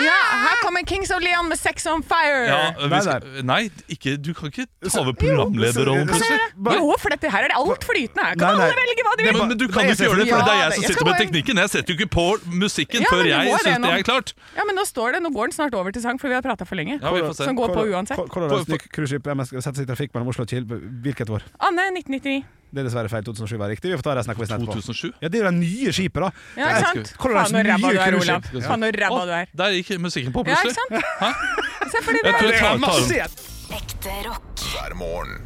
Speaker 4: Ja, her kommer Kings of Leon med Sex on Fire.
Speaker 3: Ja, vi
Speaker 2: Nei,
Speaker 3: skal, nei, ikke, du kan ikke ta over programlederrollen,
Speaker 2: Jo, så-
Speaker 3: plutselig.
Speaker 2: Bare-
Speaker 4: jo, for dette her er det alt flytende. Her
Speaker 2: Nei,
Speaker 4: kan
Speaker 2: nei.
Speaker 4: alle velge hva de
Speaker 3: Nei,
Speaker 4: vil.
Speaker 3: men, men du kan jo
Speaker 2: Nei,
Speaker 3: ikke gjøre det, for det er jeg
Speaker 4: selvfølgelig.
Speaker 3: som
Speaker 4: Ja, jeg
Speaker 3: sitter
Speaker 4: skal
Speaker 3: med
Speaker 4: bare-
Speaker 3: teknikken. Jeg setter jo ikke på musikken
Speaker 4: Ja,
Speaker 3: før
Speaker 4: men du må
Speaker 3: jeg
Speaker 4: det
Speaker 3: syns det
Speaker 4: nå.
Speaker 3: er klart.
Speaker 4: Ja, men nå står det, nå går den snart over til sang, for vi har prata for lenge.
Speaker 3: Ja, vi får se.
Speaker 4: Som går på uansett.
Speaker 2: Colorado cruiseskip MS setter seg i trafikk mellom Oslo og Kiel. Hvilket år?
Speaker 4: Anne, 1999.
Speaker 2: Det er dessverre feil. 2007 var riktig. Vi får ta resten av quizen etterpå.
Speaker 3: 2007?
Speaker 2: Ja, det er jo det nye skipet, da.
Speaker 4: Ja,
Speaker 2: Det er-
Speaker 4: ikke sant?
Speaker 2: Colorados
Speaker 4: Faen, hvor
Speaker 2: nye
Speaker 4: ræva du er, Olav.
Speaker 2: cruiseskip.
Speaker 4: Faen, hvor ræva du er.
Speaker 3: Der gikk musikken på
Speaker 4: Ja, ikke
Speaker 3: plutselig.
Speaker 4: sant?
Speaker 3: (laughs) Hæ?
Speaker 4: (laughs) Se, fordi det
Speaker 3: Jeg tror jeg tar,
Speaker 4: er
Speaker 3: tar den.
Speaker 7: Ekte rock.
Speaker 1: hver morgen.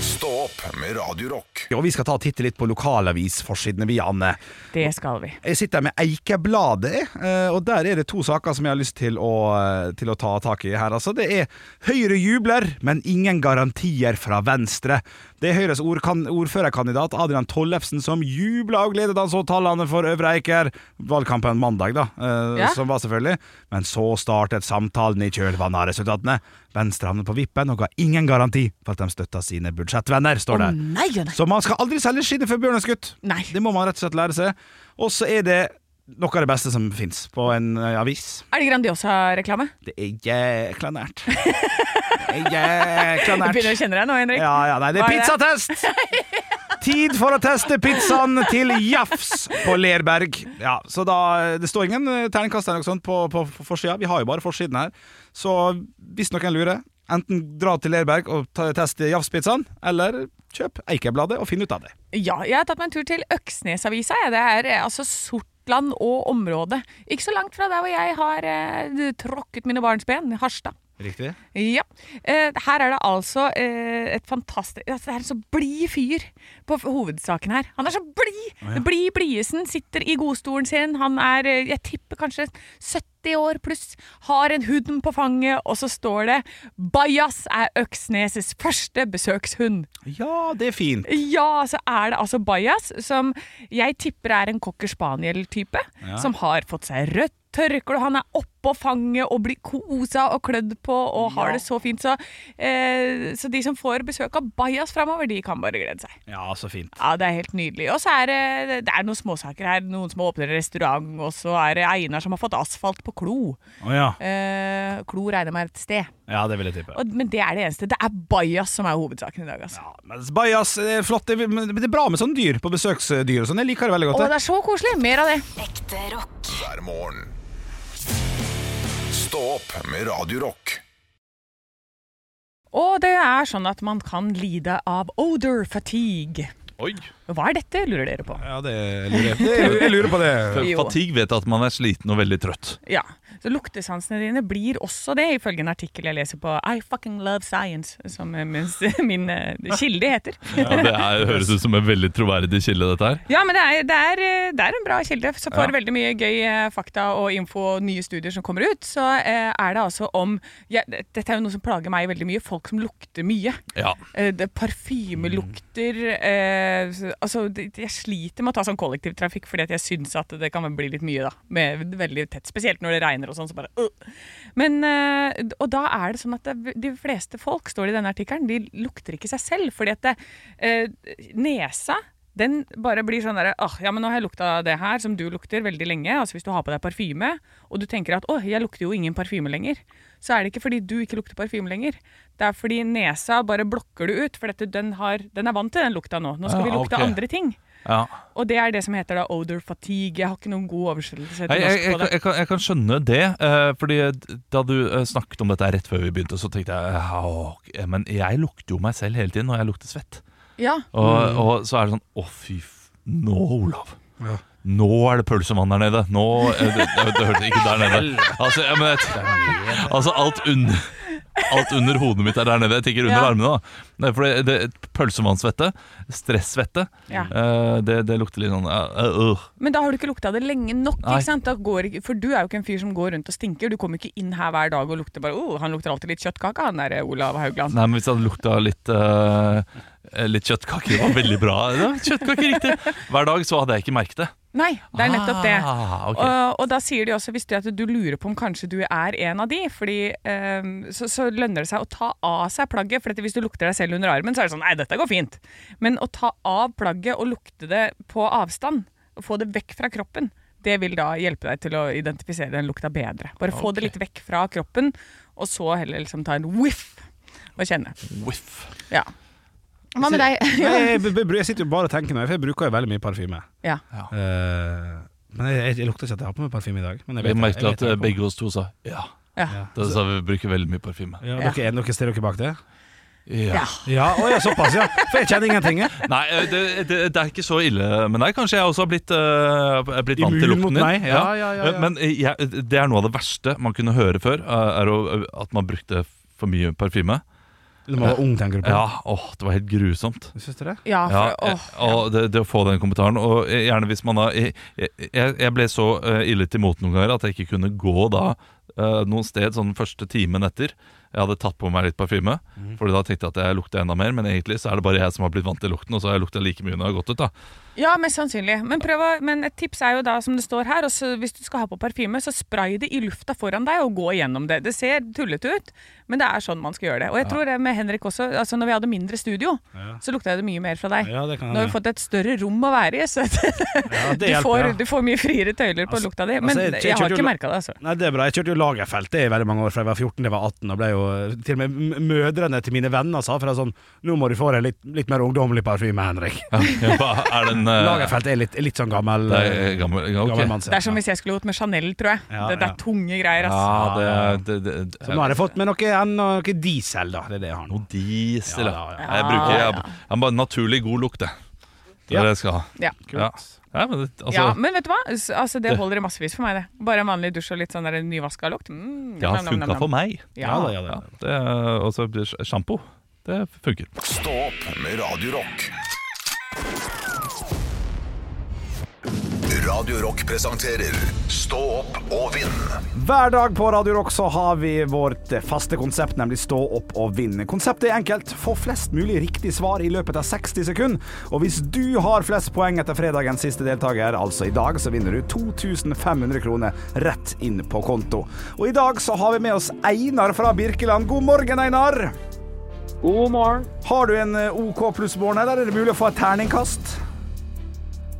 Speaker 1: Stå opp med Radio Rock.
Speaker 2: Ja, vi skal ta og titte litt på lokalavisforsidene, vi, Anne.
Speaker 4: Det skal vi.
Speaker 2: Jeg sitter med Eikebladet, eh, og der er det to saker som jeg har lyst til å, eh, til å ta tak i her. Altså, det er Høyre jubler, men ingen garantier fra Venstre. Det er Høyres ordkan ordførerkandidat Adrian Tollefsen som jubla og gledet han så tallene for Øvre Eiker. Valgkampen mandag, da, eh,
Speaker 4: Ja.
Speaker 2: som var selvfølgelig. Men så startet samtalen i kjølvannet av resultatene. Venstre havnet på vippen og ga ingen garanti for at de støtta sine budsjettvenner, står det.
Speaker 4: Nei, ja, nei.
Speaker 2: Så man skal aldri selge skinnet før bjørnen er skutt.
Speaker 4: Nei.
Speaker 2: Det må man rett og slett lære seg. Og så er det noe av det beste som fins på en eh, avis.
Speaker 4: Er det Grandiosa-reklame?
Speaker 2: Det er jækla
Speaker 4: (laughs)
Speaker 2: nært. Det er Jækla
Speaker 4: Jeg (laughs) begynner å
Speaker 2: nært.
Speaker 4: kjenne deg nå, Henrik.
Speaker 2: Ja, ja, nei, det er
Speaker 4: Hva er det? (laughs)
Speaker 2: pizzatest! Tid for å teste pizzaen til Jafs på Lerberg. Ja, så da, Det står ingen eh, terningkast eller noe sånt på, på, på forsida. Vi har jo bare forsiden her. Så hvis noen lurer, enten dra til Lerberg og ta- teste Jafs-pizzaen, eller kjøp Eikebladet og finn ut av det.
Speaker 4: Ja, jeg har tatt meg en tur til Øksnesavisa. Ja, det er eh, altså Sortland og området. Ikke så langt fra der hvor jeg har eh, tråkket mine barns ben, Harstad.
Speaker 2: Riktig.
Speaker 4: Ja. Eh, her er det altså eh, et fantastisk altså, Det er en så blid fyr på f- hovedsaken her. Han er så blid! Blid Bliesen sitter i godstolen sin. Han er, eh, jeg tipper kanskje 70 år pluss. Har en hund på fanget, og så står det 'Bajas er Øksneses første besøkshund'.
Speaker 2: Ja, det er fint.
Speaker 4: Ja, så er det altså Bajas, som jeg tipper er en cocker spaniel-type. Som har fått seg rødt tørkle, og han er oppå fanget og blir kosa og klødd på og har det så fint. Så, eh, så de som får besøk av Bajas framover, de kan bare glede seg.
Speaker 2: Ja, så fint.
Speaker 4: Ja, Det er helt nydelig. Og så er det, det er noen småsaker her. Noen som åpner restaurant, og så er det Einar som har fått asfalt på Klo.
Speaker 2: ja.
Speaker 4: Eh, Klo regner med er et sted.
Speaker 2: det vil jeg tippe.
Speaker 4: Og, men det er det eneste. Det er Bajas som er hovedsaken i dag. altså.
Speaker 2: Ja, men Bajas, det er flott. Det men det er bra med sånne dyr på besøksdyr og sånn. Jeg liker det veldig
Speaker 4: Å,
Speaker 2: godt.
Speaker 4: det er så koselig! Mer av det.
Speaker 7: Ekte rock.
Speaker 1: hver morgen. Stå opp med Radio Rock.
Speaker 4: Og det er sånn at man kan lide av odor fatigue.
Speaker 3: Oi.
Speaker 4: Hva er dette, lurer dere på?
Speaker 2: Ja, det lurer jeg. Det- jeg lurer på
Speaker 4: (laughs)
Speaker 2: det.
Speaker 4: Jo.
Speaker 3: Fatigue vet at man er sliten og veldig trøtt.
Speaker 4: Ja, så Luktesansene dine blir også det, ifølge en artikkel jeg leser på I fucking love science, som eh, mens, (laughs) min eh, kilde heter.
Speaker 3: Ja, det er, høres ut som en veldig troverdig kilde, dette her.
Speaker 4: Ja, men det er, det er, eh, det er en bra kilde som får
Speaker 3: Ja.
Speaker 4: veldig mye gøy eh, fakta og info og nye studier som kommer ut. Så eh, er det altså om ja, Dette er jo noe som plager meg veldig mye. Folk som lukter mye.
Speaker 3: Ja.
Speaker 4: Eh, det- Parfymelukter eh, så- Altså, det- jeg sliter med å ta sånn kollektivtrafikk fordi at jeg syns at det kan bli litt mye, da. Med veldig tett. Spesielt når det regner og sånn, så bare øh. Men eh, Og da er det sånn at det, de fleste folk, står det i denne artikkelen, de lukter ikke seg selv. Fordi at det, eh, nesa den bare blir sånn derre Åh, ja, men nå har jeg lukta det her som du lukter veldig lenge. Altså hvis du har på deg parfyme, og du tenker at åh, jeg lukter jo ingen parfyme lenger, så er det ikke fordi du ikke lukter parfyme lenger. Det er fordi nesa bare blokker du ut, for dette, den, har, den er vant til den lukta nå. Nå skal
Speaker 3: Ja,
Speaker 4: vi lukte
Speaker 3: ok.
Speaker 4: andre ting.
Speaker 3: Ja.
Speaker 4: Og det er det som heter da odor fatigue. Jeg har ikke noen god oversettelse
Speaker 3: Jeg,
Speaker 4: til
Speaker 3: jeg,
Speaker 4: norsk
Speaker 3: jeg,
Speaker 4: på det.
Speaker 3: kan- jeg, kan, jeg kan skjønne det, eh, fordi da du eh, snakket om dette rett før vi begynte, så tenkte jeg ja, ok, men jeg lukter jo meg selv hele tiden, og jeg lukter svett.
Speaker 4: Ja,
Speaker 3: Og,
Speaker 2: Mm.
Speaker 3: og så er det sånn Å, fy f... Nå, Olav. Nå er det pølsemann der nede. Nå eh, Det, det, det hørte jeg ikke der nede. Altså, ja, men jeg, altså alt, under, alt under hodet mitt er der nede. Jeg tenker under
Speaker 4: Ja.
Speaker 3: armene, da. Nei, For det, det, pølsemannssvette, stressvette,
Speaker 4: Ja.
Speaker 3: eh, det, det lukter litt sånn eh, eh, øh.
Speaker 4: Men da har du ikke lukta det lenge nok.
Speaker 3: Nei.
Speaker 4: ikke sant? Da går, ikke- for du er jo ikke en fyr som går rundt og stinker. Du kommer ikke inn her hver dag og lukter bare oh, han lukter alltid litt kjøttkake, han der Olav Haugland.
Speaker 3: Nei, men hvis det hadde lukta litt eh, Litt kjøttkake, det var veldig bra. Ja, kjøttkake, riktig. Hver dag så hadde jeg ikke merket det.
Speaker 4: Nei, det er nettopp det.
Speaker 3: Ah, ok.
Speaker 4: Og, og da sier de også, hvis du, at du lurer på om kanskje du er en av de, fordi ehm, så, så lønner det seg å ta av seg plagget. For dette, hvis du lukter deg selv under armen, så er det sånn Nei, dette går fint. Men å ta av plagget og lukte det på avstand, og få det vekk fra kroppen, det vil da hjelpe deg til å identifisere den lukta bedre. Bare få det litt vekk fra kroppen, og så heller liksom ta en whiff og kjenne.
Speaker 3: Whiff.
Speaker 4: Ja. Hva med deg?
Speaker 2: Nei, jeg, b- b- jeg sitter jo bare og tenker nå, for jeg bruker jo veldig mye parfyme.
Speaker 4: Ja.
Speaker 2: Eh, men jeg, jeg, jeg lukter ikke at jeg har på meg parfyme i dag. Men jeg vet
Speaker 3: Jeg
Speaker 2: det,
Speaker 3: merket
Speaker 2: jeg
Speaker 3: at
Speaker 2: vet det.
Speaker 3: eh, begge oss to sa ja.
Speaker 4: ja.
Speaker 3: Da sa vi bruker veldig mye parfyme.
Speaker 2: ja,
Speaker 4: Ja.
Speaker 2: dere, er dere stiller dere bak det?
Speaker 3: Ja.
Speaker 2: Ja, å, ja, såpass, ja. For jeg kjenner ingenting. jeg.
Speaker 3: Nei, eh, det, det, det er ikke så ille med deg. Kanskje jeg også har blitt, eh, er blitt vant til
Speaker 2: Immun mot
Speaker 3: lukten din.
Speaker 2: meg. Ja, ja, ja,
Speaker 3: Eh,
Speaker 2: ja.
Speaker 3: Men eh, jeg, det er noe av det verste man kunne høre før, eh, er å- at man brukte for mye parfyme.
Speaker 2: Du må være ung, tenker du på.
Speaker 3: Ja, åh, det var helt grusomt.
Speaker 2: Syns du det?
Speaker 4: ja,
Speaker 3: Ja,
Speaker 4: for, åh.
Speaker 3: eh, og det, det å få den kommentaren Og eh, gjerne hvis man da Jeg, jeg, jeg ble så eh, ille til mot noen ganger At jeg ikke kunne gå da eh, Noen sted sånn den første timen etter Jeg hadde tatt på meg litt parfyme
Speaker 2: Mhm.
Speaker 3: Fordi da tenkte jeg at jeg lukta enda mer Men egentlig så er det bare jeg som har blitt vant til lukten Og så har jeg lukta like mye når jeg har gått ut da (laughs)
Speaker 4: Ja, mest sannsynlig. Men, prøv å, men et tips er jo da, som det står her, også, hvis du skal ha på parfyme, så spray det i lufta foran deg og gå igjennom det. Det ser tullete ut, men det er sånn man skal gjøre det. Og jeg tror det med Henrik også, altså når vi hadde mindre studio, så lukta jeg det mye mer fra deg.
Speaker 2: Ja, det kan
Speaker 4: Eh, Nå har vi
Speaker 2: hende.
Speaker 4: fått et større rom å være i, så (laughs)
Speaker 2: Ja, det
Speaker 4: du, får,
Speaker 2: hjelper. ja.
Speaker 4: du får mye friere tøyler på
Speaker 2: Altså,
Speaker 4: lukta di. Men
Speaker 2: altså, jeg-
Speaker 4: jeg,
Speaker 2: jeg kjørte
Speaker 4: har
Speaker 2: jo
Speaker 4: ikke
Speaker 2: la-
Speaker 4: merka det, altså.
Speaker 2: Nei, det er bra. Jeg kjørte jo Lagerfeld det i veldig mange år, fra jeg var 14 til jeg var 18. Og ble jo, eh, til og med m- mødrene til mine venner sa fra sånn Nå må du få deg litt, litt mer ungdommelig parfyme, Henrik.
Speaker 3: Ja, hva Er den eh,
Speaker 2: Lagerfeld er litt, litt sånn gammel,
Speaker 3: det er gammel, ja, ok.
Speaker 2: gammel mann. sier
Speaker 4: Det er som
Speaker 2: jeg.
Speaker 4: hvis jeg skulle gått med Chanel, tror jeg.
Speaker 2: Ja,
Speaker 4: det, det
Speaker 2: ja.
Speaker 4: er tunge greier, ass.
Speaker 3: Ja, det, det, det,
Speaker 2: Så nå har jeg fått med noe, igjen, og noe diesel, da. Det er det jeg har nå.
Speaker 3: Noe diesel
Speaker 2: Ja,
Speaker 3: ja,
Speaker 2: ja,
Speaker 3: Jeg bruker jeg, jeg har bare naturlig god lukt det. Det
Speaker 2: Ja.
Speaker 3: er det jeg skal ha
Speaker 4: Ja.
Speaker 3: ja. Ja, men, det- altså,
Speaker 4: ja, men vet du hva? S- Altså, det holder i massevis for meg, det. Bare en vanlig dusj og litt sånn der nyvaska lukt. Mm,
Speaker 3: det
Speaker 4: nam,
Speaker 3: har
Speaker 4: nam, nam,
Speaker 3: funket
Speaker 4: nam.
Speaker 3: for meg
Speaker 2: Ja da, ja
Speaker 3: Ja,
Speaker 2: da.
Speaker 3: det er også sjampo. Det funker.
Speaker 1: Stå opp med Radio Rock. Radio Rock presenterer Stå opp og vinn.
Speaker 2: Hver dag på Radio Rock så har vi vårt faste konsept, nemlig Stå opp og vinn. Konseptet er enkelt. Få flest mulig riktig svar i løpet av 60 sekunder. Og hvis du har flest poeng etter fredagens siste deltaker, altså i dag, så vinner du 2500 kroner rett inn på konto. Og i dag så har vi med oss Einar fra Birkeland. God morgen, Einar.
Speaker 8: God morgen.
Speaker 2: Har du en eh, OK pluss-morgen, eller er det mulig å få et terningkast?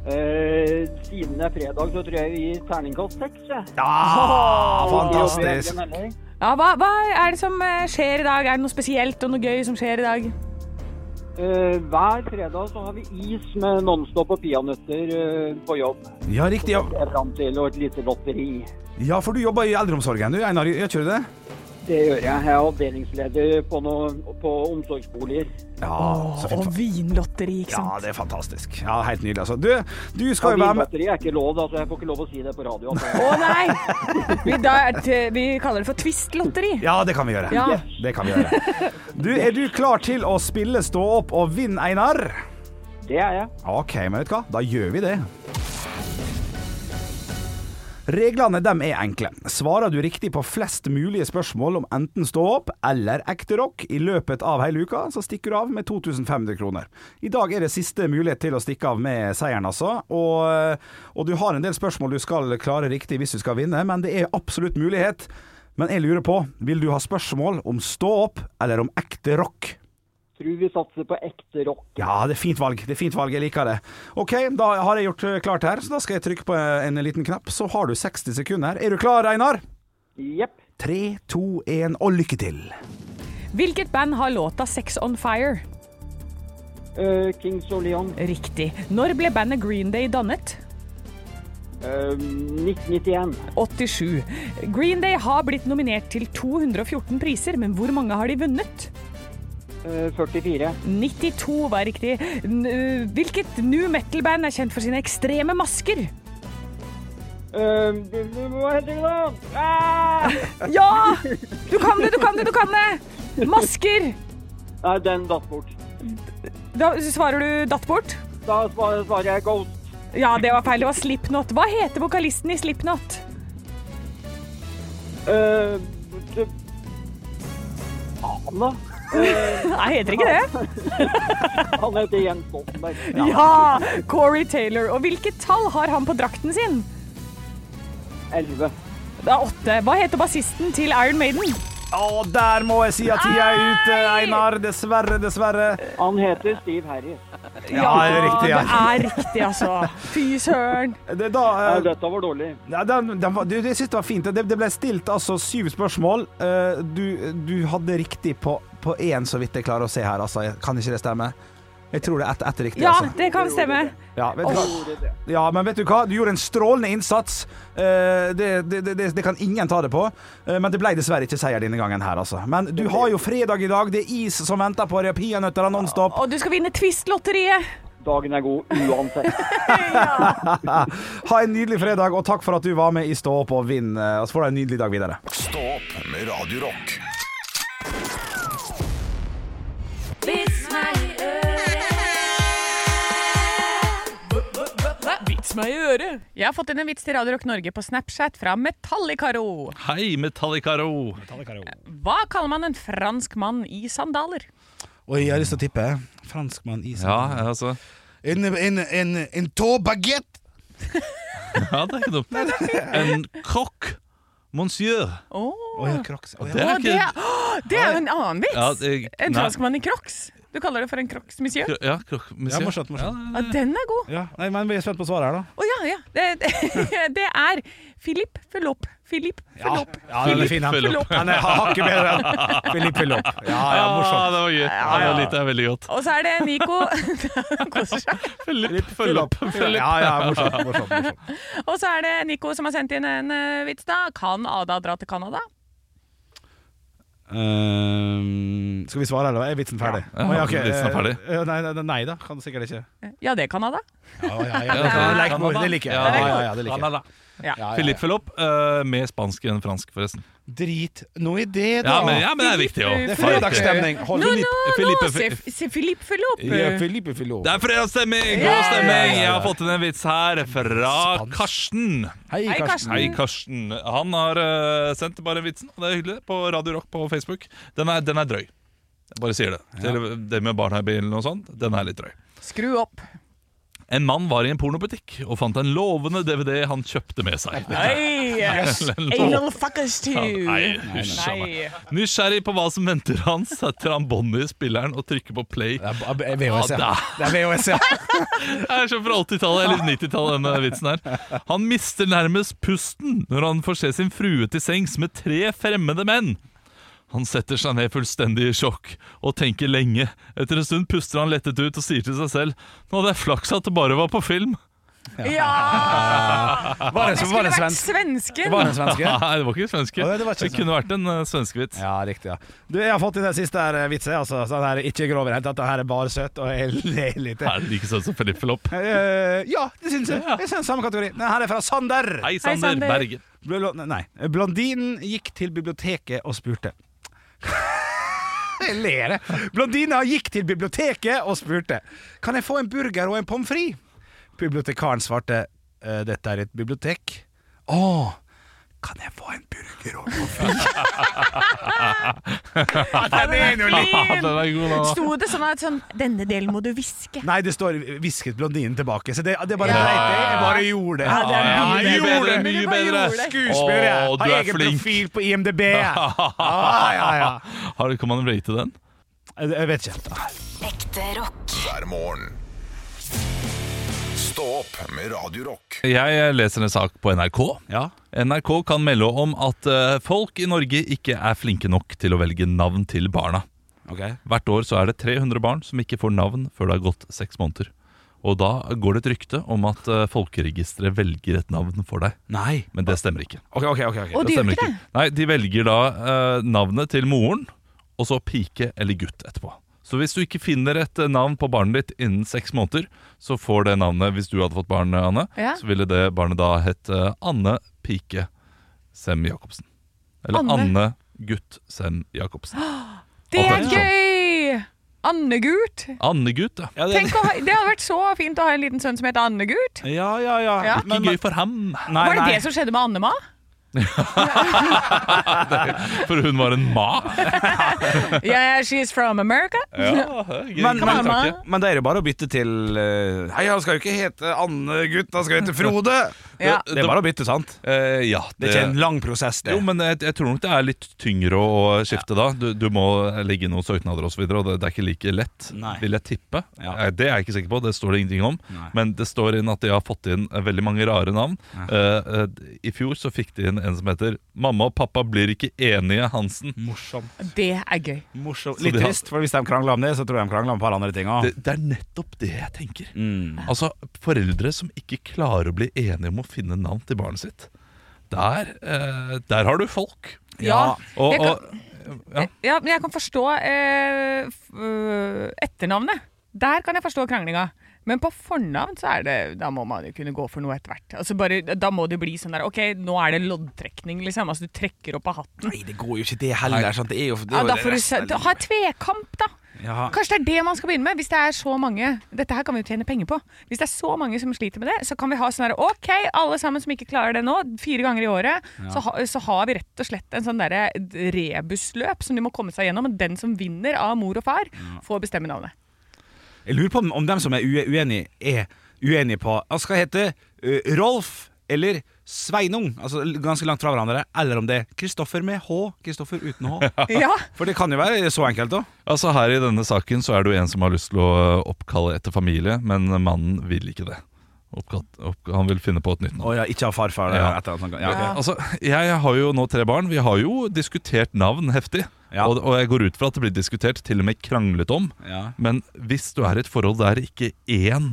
Speaker 8: Eh, siden det er fredag, så tror jeg vi gir terningkast seks. jeg.
Speaker 2: Ja,
Speaker 8: Vi jobber igjen,
Speaker 2: Ah, fantastisk.
Speaker 8: eller?
Speaker 4: Ja, hva, hva er det som eh, skjer i dag? Er det noe spesielt og noe gøy som skjer i dag?
Speaker 8: Eh, hver fredag så har vi is med Nonstop og peanøtter eh, på jobb.
Speaker 2: Ja, riktig. Ja.
Speaker 8: Det er fram til og et lite lotteri.
Speaker 2: ja, for du jobber i eldreomsorgen, du, Einar. Gjør ikke du det?
Speaker 8: Det gjør jeg. Jeg er avdelingsleder på, noe, på omsorgsboliger.
Speaker 2: Ja, så
Speaker 4: Og
Speaker 2: fint.
Speaker 4: vinlotteri, ikke
Speaker 2: Ja,
Speaker 4: sant?
Speaker 2: det er fantastisk. Ja, Helt nydelig, altså. Du, du skal jo være med
Speaker 8: Vinlotteri er ikke lov, da, så jeg får ikke lov å si det på radio. altså.
Speaker 2: (laughs)
Speaker 4: Å nei! Vi, da, er t- vi kaller det for twist-lotteri.
Speaker 2: Ja, det kan vi gjøre.
Speaker 4: Ja.
Speaker 2: Det kan vi gjøre. Du, er du klar til å spille Stå opp og vinn, Einar?
Speaker 8: Det er jeg.
Speaker 2: OK, men vet du hva? Da gjør vi det. Reglene dem er enkle. Svarer du riktig på flest mulige spørsmål om enten stå opp eller ekte rock i løpet av hele uka, så stikker du av med 2500 kroner. I dag er det siste mulighet til å stikke av med seieren, altså. Og, og du har en del spørsmål du skal klare riktig hvis du skal vinne, men det er absolutt mulighet. Men jeg lurer på, vil du ha spørsmål om stå opp eller om ekte rock?
Speaker 8: tror vi satser på ekte rock.
Speaker 2: Ja, det er fint valg. Det er fint valg, Jeg liker det. OK, da har jeg gjort eh, klart her, så da skal jeg trykke på eh, en liten knapp. Så har du 60 sekunder. Er du klar, Einar?
Speaker 8: Jepp.
Speaker 2: 3, 2, 1, og lykke til.
Speaker 4: Hvilket band har låta Sex on Fire?
Speaker 8: Eh, Kings of Leon.
Speaker 4: Riktig. Når ble bandet Green Day dannet?
Speaker 8: Eh, 1991.
Speaker 4: 87. Green Day har blitt nominert til 214 priser, men hvor mange har de vunnet?
Speaker 8: Eh, 44.
Speaker 4: 92 var riktig. N øh, hvilket new metal-band er kjent for sine ekstreme masker?
Speaker 8: Eh, det- det- hva heter det da? Ah!
Speaker 4: Ja! (laughs) Du kan det, du kan det, du kan det! Masker!
Speaker 8: Nei, den datt bort.
Speaker 4: Da svarer du datt bort.
Speaker 8: Da svarer, svarer jeg Ghost.
Speaker 4: Ja, det var feil. Det var Slipknot. Hva heter vokalisten i Slipknot?
Speaker 8: Eh, det- Faen, da. Eh,
Speaker 4: Nei, heter ikke det.
Speaker 8: han heter Jens Stoltenberg.
Speaker 4: Ja! Corey Taylor. Og hvilket tall har han på drakten sin?
Speaker 8: 11.
Speaker 4: Det er åtte. Hva heter bassisten til Iron Maiden?
Speaker 2: Å, der må jeg si at tida er ute, Einar. Dessverre, dessverre.
Speaker 8: Han heter Steve Harris.
Speaker 2: Ja, det er riktig.
Speaker 4: det
Speaker 2: Ja.
Speaker 4: er riktig, altså. Fy søren.
Speaker 2: Det, er da,
Speaker 8: Nei,
Speaker 2: eh,
Speaker 8: dette var dårlig.
Speaker 2: Ja, den, den var, du, jeg synes det var fint. Det, det ble stilt altså syv spørsmål. Eh, du, du hadde riktig på, på én, så vidt jeg klarer å se her. Altså, jeg- kan ikke det stemme? Jeg tror det er ett ett riktig.
Speaker 4: Ja,
Speaker 2: altså.
Speaker 4: det kan stemme.
Speaker 2: Ja, vet du hva?
Speaker 8: Gjorde det.
Speaker 2: ja, men vet du hva? Du gjorde en strålende innsats. Eh, det, det, det, det kan ingen ta det på. Eh, men det ble dessverre ikke seier denne gangen her, altså. Men du har jo fredag i dag. Det er is som venter på deg, og peanøtter nonstop.
Speaker 4: Og du skal vinne Twist-lotteriet.
Speaker 8: Dagen er god uansett.
Speaker 2: Ha en nydelig fredag, og takk for at du var med i Stå opp og vinn. Eh, Og så får du en nydelig dag videre.
Speaker 1: Stå opp med Radio Rock.
Speaker 4: Vits meg i øret. Jeg har fått inn en vits til Radio Rock Norge på Snapchat fra Metallicaro.
Speaker 3: Hei, Metallicaro!
Speaker 4: Hva kaller man en fransk mann i sandaler?
Speaker 2: Oi, jeg har lyst til å tippe. Franskmann, is
Speaker 3: Ja, altså
Speaker 2: En, en, en, en tåbagett!
Speaker 3: (laughs) Ja, det er ikke dumt. En croque monsieur.
Speaker 4: Åh,
Speaker 2: Å ja, crocs. Å, ja.
Speaker 3: Det
Speaker 4: Å,
Speaker 3: er
Speaker 4: det,
Speaker 3: ikke
Speaker 4: Åh, det er jo en annen vits!
Speaker 3: Ja, det-
Speaker 4: en
Speaker 3: nei.
Speaker 4: fransk mann i crocs. Du kaller det for en crocs, monsieur?
Speaker 3: Ja, croque monsieur.
Speaker 2: Ja, morsomt, morsomt.
Speaker 4: Ja, den er god.
Speaker 2: Ja, nei, men vi er spent på svaret her, da.
Speaker 4: Å ja, ja. Det, det- (laughs) det er Philip følg opp. Philip følg opp.
Speaker 2: Ja, den er fin,
Speaker 3: følg
Speaker 2: han.
Speaker 3: opp.
Speaker 2: Han er hakket bedre enn Filip Filip. Ja, ja,
Speaker 3: Ja,
Speaker 2: morsomt.
Speaker 3: Ah, det var gøy. Ja, det likte jeg veldig godt.
Speaker 4: Og så er det Nico (laughs) Han koser seg.
Speaker 3: Philip, følg opp. Philip.
Speaker 2: Ja, ja, morsomt, morsomt, morsomt.
Speaker 4: Og så er det Nico som har sendt inn en eh, vits, da. Kan Ada dra til Canada?
Speaker 2: Ehm, skal vi svare, eller er vitsen ferdig?
Speaker 3: Ja,
Speaker 2: Å, ok,
Speaker 3: vitsen er ferdig.
Speaker 2: eh, Nei, nei, nei da, kan du sikkert ikke.
Speaker 4: Ja, det kan Ada.
Speaker 2: Ja, ja, ja,
Speaker 3: Ja,
Speaker 2: det, kan-
Speaker 3: ja,
Speaker 2: Lek mor,
Speaker 3: Canada.
Speaker 2: det liker jeg.
Speaker 3: Ja,
Speaker 2: Ja, ja, ja, det liker jeg.
Speaker 3: Canada.
Speaker 2: Ja, ja,
Speaker 3: Philip, følg opp. eh, Med spansk enn fransk, forresten.
Speaker 2: ja. Drit nå i det,
Speaker 3: Ja,
Speaker 2: da.
Speaker 3: men, ja, men det er viktig òg.
Speaker 2: Det er fredagsstemning. Hold
Speaker 4: Nå,
Speaker 2: no,
Speaker 4: nå, nå!
Speaker 3: Philippe-
Speaker 4: Se, se Philip følg opp!
Speaker 2: Filip Filip.
Speaker 3: Det er fredagsstemning! God stemning! Jeg har fått inn en vits her fra Karsten.
Speaker 2: Hei,
Speaker 4: Hei,
Speaker 2: Karsten.
Speaker 4: Karsten.
Speaker 3: Hei, Karsten. Han har eh, sendt bare vitsen, og det er hyggelig, på Radio Rock på Facebook. Den er, den er drøy. Jeg bare sier det. Til det med barna i bilen og sånt, den er litt drøy.
Speaker 4: Skru opp.
Speaker 3: En mann var i en pornobutikk og fant en lovende DVD han kjøpte med seg. (laughs)
Speaker 4: Hey, anal fuckers too!
Speaker 3: Nei, hysj a meg. Nysgjerrig på hva som venter han, setter han båndet i spilleren og trykker på play.
Speaker 2: Det er b- VHS, ja.
Speaker 3: Ja,
Speaker 2: Det er VHS,
Speaker 3: (laughs)
Speaker 2: ja.
Speaker 3: Det er så fra 80-tallet eller 90-tallet, denne vitsen her. Han mister nærmest pusten når han får se sin frue til sengs med tre fremmede menn. Han setter seg ned fullstendig i sjokk og tenker lenge. Etter en stund puster han lettet ut og sier til seg selv Nå hadde jeg flaks at det bare var på film. (laughs)
Speaker 4: Ja!
Speaker 2: Var det,
Speaker 4: Det
Speaker 2: var
Speaker 4: skulle
Speaker 2: det
Speaker 4: vært
Speaker 2: svensk?
Speaker 4: svensken!
Speaker 2: Var det en svenske?
Speaker 3: Nei, det var ikke svenske.
Speaker 2: Å, nei, det var ikke
Speaker 3: det kunne vært en uh, svenskevits.
Speaker 2: Ja, riktig. ja Du, Jeg har fått inn den siste her eh, vitsen. Altså, så den her er ikke grov i det hele tatt. Den her er (laughs) bare søt, og jeg ler litt.
Speaker 3: Er det like søt som Philip Fillopp?
Speaker 2: Eh, ja, det syns jeg. Jeg synes Samme kategori. Den her er fra Sander.
Speaker 3: Hei, Sander,
Speaker 4: Sander.
Speaker 3: Berge.
Speaker 2: Blå- Nei. Blondinen gikk til biblioteket og spurte. Jeg ler. jeg. Blondina gikk til biblioteket og spurte Kan jeg få en burger og en pommes frites. Bibliotekaren svarte «Eh, Dette er et bibliotek. Å, kan jeg få en burger og en pommes frites? Den er nå litt
Speaker 3: Ja, den er god, da.
Speaker 4: Sto det sånn at sånn Denne delen må du hviske.
Speaker 2: Nei, det står hvisket blondinen tilbake. Så det, det bare
Speaker 4: Ja.
Speaker 2: dreit jeg. Jeg bare gjorde det.
Speaker 4: Ja, det er
Speaker 2: Ja,
Speaker 4: mye
Speaker 2: jeg
Speaker 4: bedre,
Speaker 2: gjorde det.
Speaker 4: mye
Speaker 2: Jeg bare
Speaker 4: bedre.
Speaker 2: gjorde det. Skuespiller, jeg.
Speaker 3: Å, du
Speaker 2: Har
Speaker 3: er (laughs)
Speaker 2: egen
Speaker 3: flink.
Speaker 2: profil på IMDb. jeg. Ja, ja, ja.
Speaker 3: Har, kan man rate den?
Speaker 2: Jeg jeg vet ikke.
Speaker 7: Ekte rock.
Speaker 1: hver morgen. Stå opp med Radio Rock.
Speaker 3: Jeg eh, leser en sak på NRK.
Speaker 2: Ja.
Speaker 3: NRK kan melde om at eh, folk i Norge ikke er flinke nok til å velge navn til barna.
Speaker 2: Ok.
Speaker 3: Hvert år så er det 300 barn som ikke får navn før det har gått seks måneder. Og da går det et rykte om at eh, folkeregisteret velger et navn for deg.
Speaker 2: Nei.
Speaker 3: Men det stemmer ikke.
Speaker 2: Ok, ok, ok. ok.
Speaker 4: Og det gjør
Speaker 3: stemmer
Speaker 4: ikke det.
Speaker 3: Nei, De velger da eh, navnet til moren, og så pike eller gutt etterpå. Så hvis du ikke finner et eh, navn på barnet ditt innen seks måneder, så får det navnet Hvis du hadde fått barn, eh, Anne,
Speaker 4: Ja.
Speaker 3: så ville det barnet da hett eh, Anne Pike Sem Jacobsen. Eller
Speaker 4: Anne.
Speaker 3: Anne, Gutt Sem
Speaker 4: (gasps)
Speaker 3: Jacobsen.
Speaker 4: Det
Speaker 3: Og
Speaker 4: er
Speaker 3: det er
Speaker 4: gøy! Andegult.
Speaker 3: Anne-gutt, ja.
Speaker 2: Ja, det,
Speaker 4: (laughs) Tenk å ha, det hadde vært så fint å ha en liten sønn som heter Andegult.
Speaker 2: ja, ja, ja.
Speaker 4: Ja.
Speaker 3: Ikke gøy for ham,
Speaker 2: Nei,
Speaker 4: Var det
Speaker 2: nei.
Speaker 4: det som skjedde med Annema?
Speaker 3: (laughs) for hun var en
Speaker 2: (laughs)
Speaker 3: ma.
Speaker 4: Yeah, she's from America.
Speaker 3: Ja,
Speaker 2: Men,
Speaker 3: gøy
Speaker 2: men,
Speaker 3: tanke.
Speaker 2: men det er jo bare å bytte til eh, Hei, han skal jo ikke hete Anne-gutt, han skal hete Frode!
Speaker 4: Ja.
Speaker 2: (laughs) Det er bare å bytte, sant?
Speaker 3: Eh, ja,
Speaker 2: Det er ikke en lang prosess, det.
Speaker 3: Jo, men jeg, jeg tror nok det er litt tyngre å å skifte da. Du, du må legge inn noen søknader og så videre, og det, det er ikke like lett,
Speaker 2: Nei.
Speaker 3: vil jeg tippe.
Speaker 2: Ja.
Speaker 3: Eh, Det er jeg ikke sikker på, det står det ingenting om.
Speaker 2: Nei.
Speaker 3: Men det står inn at de har fått inn eh, veldig mange rare navn. Eh, eh, I fjor så fikk de inn en som heter 'Mamma og pappa blir ikke enige, Hansen'.
Speaker 2: Morsomt.
Speaker 4: Det er gøy.
Speaker 2: Morsomt.
Speaker 3: Så
Speaker 2: Litt
Speaker 3: de har-
Speaker 2: trist, for hvis de krangler om det, så tror jeg de krangler om et par andre ting òg.
Speaker 3: Det, det er nettopp det jeg tenker.
Speaker 2: Mm.
Speaker 3: Altså, foreldre som ikke klarer å bli enige om å finne navn til barnet sitt. Der, eh, der har du folk.
Speaker 4: Ja.
Speaker 3: Og,
Speaker 4: Jeg kan-
Speaker 3: og, ja.
Speaker 4: Ja, men jeg kan forstå eh, f- øh, etternavnet. Der kan jeg forstå kranglinga. Men på fornavn så er det, da må man jo kunne gå for noe etter hvert. Altså bare, da må det bli sånn der OK, nå er det loddtrekning, liksom. Altså du trekker opp av hatten.
Speaker 2: Nei, det går jo ikke det heller. Sant? Det er jo, det er
Speaker 4: Ja,
Speaker 2: jo
Speaker 4: da
Speaker 2: det
Speaker 4: får du
Speaker 2: resten
Speaker 4: se-
Speaker 2: av
Speaker 4: da- ha et tvekamp, da.
Speaker 2: livet. ja.
Speaker 4: Kanskje det er det man skal begynne med, hvis det er så mange. Dette her kan vi jo tjene penger på. Hvis det er så mange som sliter med det, så kan vi ha sånn derre OK, alle sammen som ikke klarer det nå, fire ganger i året, så, ha, så har vi rett og slett en sånn derre rebusløp som de må komme seg gjennom. Og den som vinner av mor og far, får bestemme navnet.
Speaker 2: Jeg lurer på om, om dem som er ue- uenige, er uenige på Han skal hete ø, Rolf eller Sveinung, altså l- ganske langt fra hverandre, eller om det er Kristoffer med H, Kristoffer uten (laughs) H.
Speaker 4: Ja,
Speaker 2: For det kan jo være så enkelt òg.
Speaker 3: Altså Her i denne saken så er det jo en som har lyst til å eh, oppkalle etter familie, men mannen vil ikke det. Oppkalt, opp, han vil finne på et nytt navn.
Speaker 2: Å ja, ikke ha farfar. Ja.
Speaker 3: Ja.
Speaker 2: Et eller annet sånt. Ja, ok.
Speaker 3: Altså, Jeg har jo nå tre barn. Vi har jo diskutert navn heftig.
Speaker 2: Ja.
Speaker 3: Og, og jeg går ut fra at det blir diskutert, til og med kranglet om.
Speaker 2: ja.
Speaker 3: Men hvis du er i et forhold der ikke én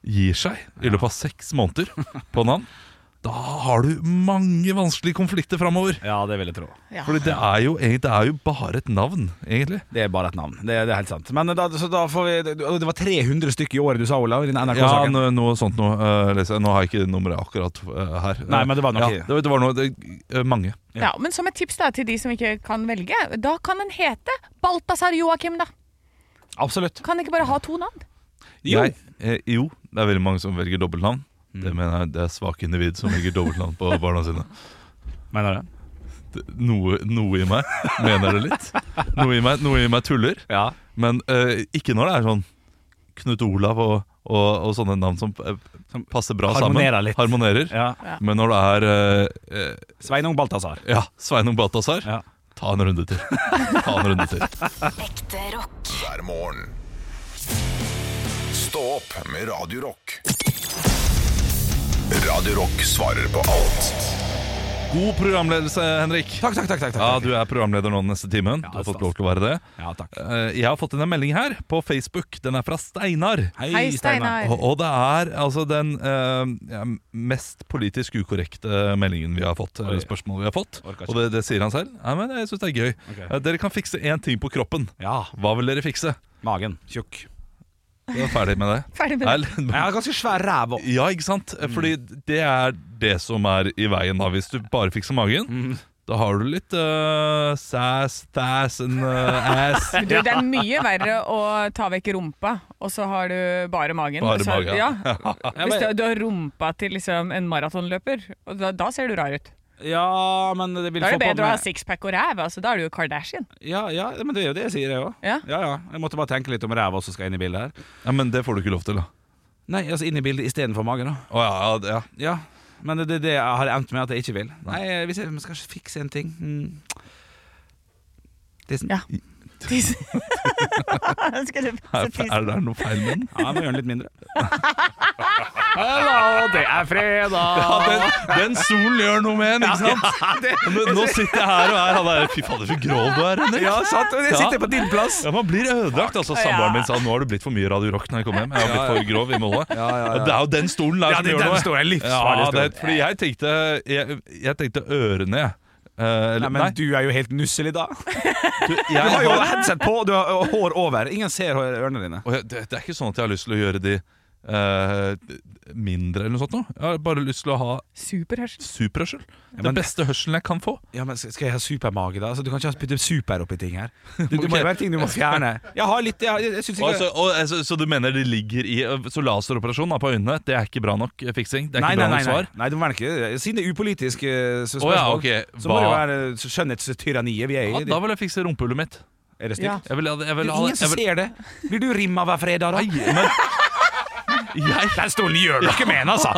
Speaker 3: gir seg i løpet av seks måneder på navn, (laughs) da har du mange vanskelige konflikter framover.
Speaker 2: ja, det vil jeg tro.
Speaker 4: ja.
Speaker 3: Fordi det er, jo, egentlig- det er jo bare et navn, egentlig.
Speaker 2: Det er bare et navn. Det, det er helt sant. Men da, så da får vi det- Det var 300 stykker i året du sa, Olav, i den
Speaker 3: Ja,
Speaker 2: NRK-saken.
Speaker 3: no, noe sånt noe. eh, leser jeg. Nå har jeg ikke nummeret akkurat eh, her.
Speaker 2: Nei, men det var nok
Speaker 3: ja,
Speaker 2: i-
Speaker 3: det, det var noe, det, eh, mange.
Speaker 4: ja, Men som et tips da til de som ikke kan velge, da kan den hete Balthazar Joakim, da.
Speaker 2: Absolutt.
Speaker 4: Kan den ikke bare ha to navn?
Speaker 2: Jo. Mm.
Speaker 3: Jeg, eh, jo, det er veldig mange som velger dobbeltnavn. Det mener jeg det er svake individ som velger dobbeltnavn på barna sine.
Speaker 2: Mener du det?
Speaker 3: Det- Noe, noe i meg mener det litt. Noe i meg, noe i meg tuller.
Speaker 2: Ja.
Speaker 3: Men eh, ikke når det er sånn Knut Olav og, og, og sånne navn som eh,
Speaker 2: Som
Speaker 3: passer bra
Speaker 2: harmonerer
Speaker 3: sammen.
Speaker 2: litt.
Speaker 3: Harmonerer.
Speaker 2: ja.
Speaker 3: Men når det er eh, eh,
Speaker 2: Sveinung Balthazar.
Speaker 3: ja, Sveinung Balthazar,
Speaker 2: Ja.
Speaker 3: ta en runde til. Ta en runde til.
Speaker 7: Ekte rock.
Speaker 1: hver morgen. Stå opp med Radio Rock. Radio Rock svarer på alt
Speaker 3: God programledelse, Henrik.
Speaker 2: Takk, takk, takk. takk, takk.
Speaker 3: Ja, du er programleder nå den neste timen. Du har fått lov til å være det.
Speaker 2: Ja, takk.
Speaker 3: Eh, Jeg har fått inn en melding her på Facebook. Den er fra Steinar.
Speaker 4: Hei, Steinar.
Speaker 3: Og og det er altså den eh, ja, mest politisk ukorrekte meldingen vi har fått. Eller spørsmålet vi har fått
Speaker 2: Orker ikke.
Speaker 3: Og det, det sier han selv. Nei, men jeg syns det er gøy.
Speaker 2: Ok.
Speaker 3: Eh, Dere kan fikse én ting på kroppen.
Speaker 2: Ja.
Speaker 3: Hva vil dere fikse?
Speaker 2: Magen. Tjukk.
Speaker 3: Da er jeg Ferdig
Speaker 2: (laughs)
Speaker 3: med det.
Speaker 4: Ferdig med det.
Speaker 3: Nei,
Speaker 2: Jeg har ganske svær ræv òg.
Speaker 3: Ja, ikke sant?
Speaker 2: Mm.
Speaker 3: Fordi det er det som er i veien da Hvis du bare fikser magen
Speaker 2: Mm.
Speaker 3: Da har du litt uh, sass, thass and eh,
Speaker 2: (laughs)
Speaker 3: ass
Speaker 4: Du, det er mye verre å ta vekk rumpa, og så har du bare magen.
Speaker 3: Bare
Speaker 4: så,
Speaker 3: magen.
Speaker 2: (laughs)
Speaker 4: Ja. Hvis du, du har rumpa til liksom, en maratonløper, og da, da ser du rar ut.
Speaker 2: Ja, men det vil
Speaker 4: Da er
Speaker 2: få
Speaker 4: det
Speaker 2: på
Speaker 4: bedre å ha
Speaker 2: meg-
Speaker 4: sixpack og ræv. Altså, da er du jo Kardashian.
Speaker 2: Ja, ja, men det er jo det jeg sier, jeg òg.
Speaker 4: Ja. (laughs)
Speaker 2: Ja, ja. Jeg måtte bare tenke litt om ræva også skal inn i bildet her.
Speaker 3: Ja, men det får du ikke lov til da
Speaker 2: Nei, altså inn i bildet istedenfor magen, da.
Speaker 3: Å ja, ja, ja.
Speaker 2: Ja. Men det er det jeg har endt med at jeg ikke vil. Nei, hvis jeg skal fikse en ting mm. Det er sånn
Speaker 4: Ja. Tisse. Skal du
Speaker 3: Er,
Speaker 4: passe tissen?
Speaker 3: er det noe feil med den?
Speaker 9: Ja, jeg må gjøre den litt
Speaker 3: (laughs)
Speaker 9: mindre.
Speaker 3: Ja, den, den solen gjør noe med en, ikke sant? Nå, nå sitter jeg her og er han der Fy fader, så grov du er, Henrik.
Speaker 2: Ja, sant? Jeg sitter på din plass.
Speaker 3: Ja, Man blir ødelagt. altså Samboeren min sa nå har du blitt for mye Radio Rock når jeg kom hjem. Jeg har blitt for grov i målet. Det er jo den stolen der
Speaker 2: Ja,
Speaker 3: som
Speaker 2: det er
Speaker 3: gjør
Speaker 2: den
Speaker 3: noe.
Speaker 2: stolen, livsfarlig
Speaker 3: ja, det,
Speaker 2: stol.
Speaker 3: fordi jeg tenkte, jeg, jeg tenkte ørene, jeg. Eh,
Speaker 2: Nei,
Speaker 3: eller-
Speaker 2: men du er jo helt nusselig da.
Speaker 3: du, jeg
Speaker 2: Du
Speaker 3: (laughs)
Speaker 2: har jo
Speaker 3: har-
Speaker 2: headset på, og du har og hår over. Ingen ser hår- ørene dine.
Speaker 3: Og jeg, det, det er ikke sånn at jeg har lyst til å gjøre de eh, mindre eller noe sånt. Nå. Jeg har bare lyst til å ha
Speaker 4: Superhørsel.
Speaker 3: superhørsel.
Speaker 2: men-
Speaker 3: Den beste hørselen jeg kan få.
Speaker 2: Ja, men Skal jeg ha supermage, da? Altså, du kan ikke putte super oppi ting her. Du, det må
Speaker 3: (laughs) Ok.
Speaker 2: jo være ting du må fjerne. Jeg har litt Jeg, jeg, jeg synes
Speaker 3: Altså, Og, så,
Speaker 2: ikke
Speaker 3: og, så, så du mener de ligger i Så laseroperasjon da, på øynene, det er ikke bra nok eh, fiksing? Det er
Speaker 2: Nei,
Speaker 3: ikke
Speaker 2: nei, nei,
Speaker 3: bra nok
Speaker 2: nei.
Speaker 3: svar?
Speaker 2: nei, det må være ikke Siden det er upolitisk eh, så
Speaker 3: Å
Speaker 2: spørsmål,
Speaker 3: ja, ok.
Speaker 2: så må det jo
Speaker 3: Hva-
Speaker 2: være eh, skjønnhetstyranniet vi er i.
Speaker 3: Ja, da vil jeg fikse rumpehullet mitt.
Speaker 2: Er det
Speaker 4: Ja.
Speaker 2: stygt?
Speaker 3: Jeg vil, jeg
Speaker 2: Det
Speaker 3: vil,
Speaker 2: er
Speaker 3: ha-
Speaker 2: ingen som
Speaker 3: jeg vil,
Speaker 2: ser det. Blir du rimma hver fredag, da?
Speaker 3: Nei,
Speaker 2: (laughs)
Speaker 3: men jeg
Speaker 2: Den stolen gjør du ikke med den,
Speaker 3: (laughs)
Speaker 2: altså!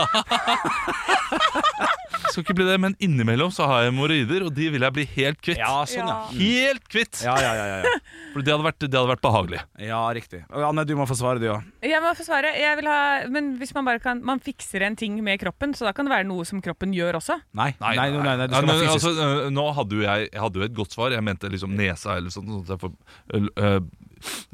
Speaker 3: skal ikke bli det, men innimellom så har jeg hemoroider, og de vil jeg bli helt kvitt.
Speaker 2: Ja, sånn, ja.
Speaker 3: Helt kvitt!
Speaker 2: Ja, ja, ja, ja, ja.
Speaker 3: For det hadde vært, det hadde vært behagelig.
Speaker 2: ja riktig. Og Anne, du må få svare, du òg.
Speaker 4: Jeg må få svare. Jeg vil ha, men hvis man bare kan Man fikser en ting med kroppen, så da kan det være noe som kroppen gjør også.
Speaker 2: Nei, nei, nei, nei, nei, det
Speaker 3: Ja,
Speaker 2: skal
Speaker 3: men,
Speaker 2: være fysisk.
Speaker 3: altså, øh, nå hadde jo jeg, jeg hadde jo et godt svar. Jeg mente liksom nesa eller sånn, sånn at jeg får, øh, øh,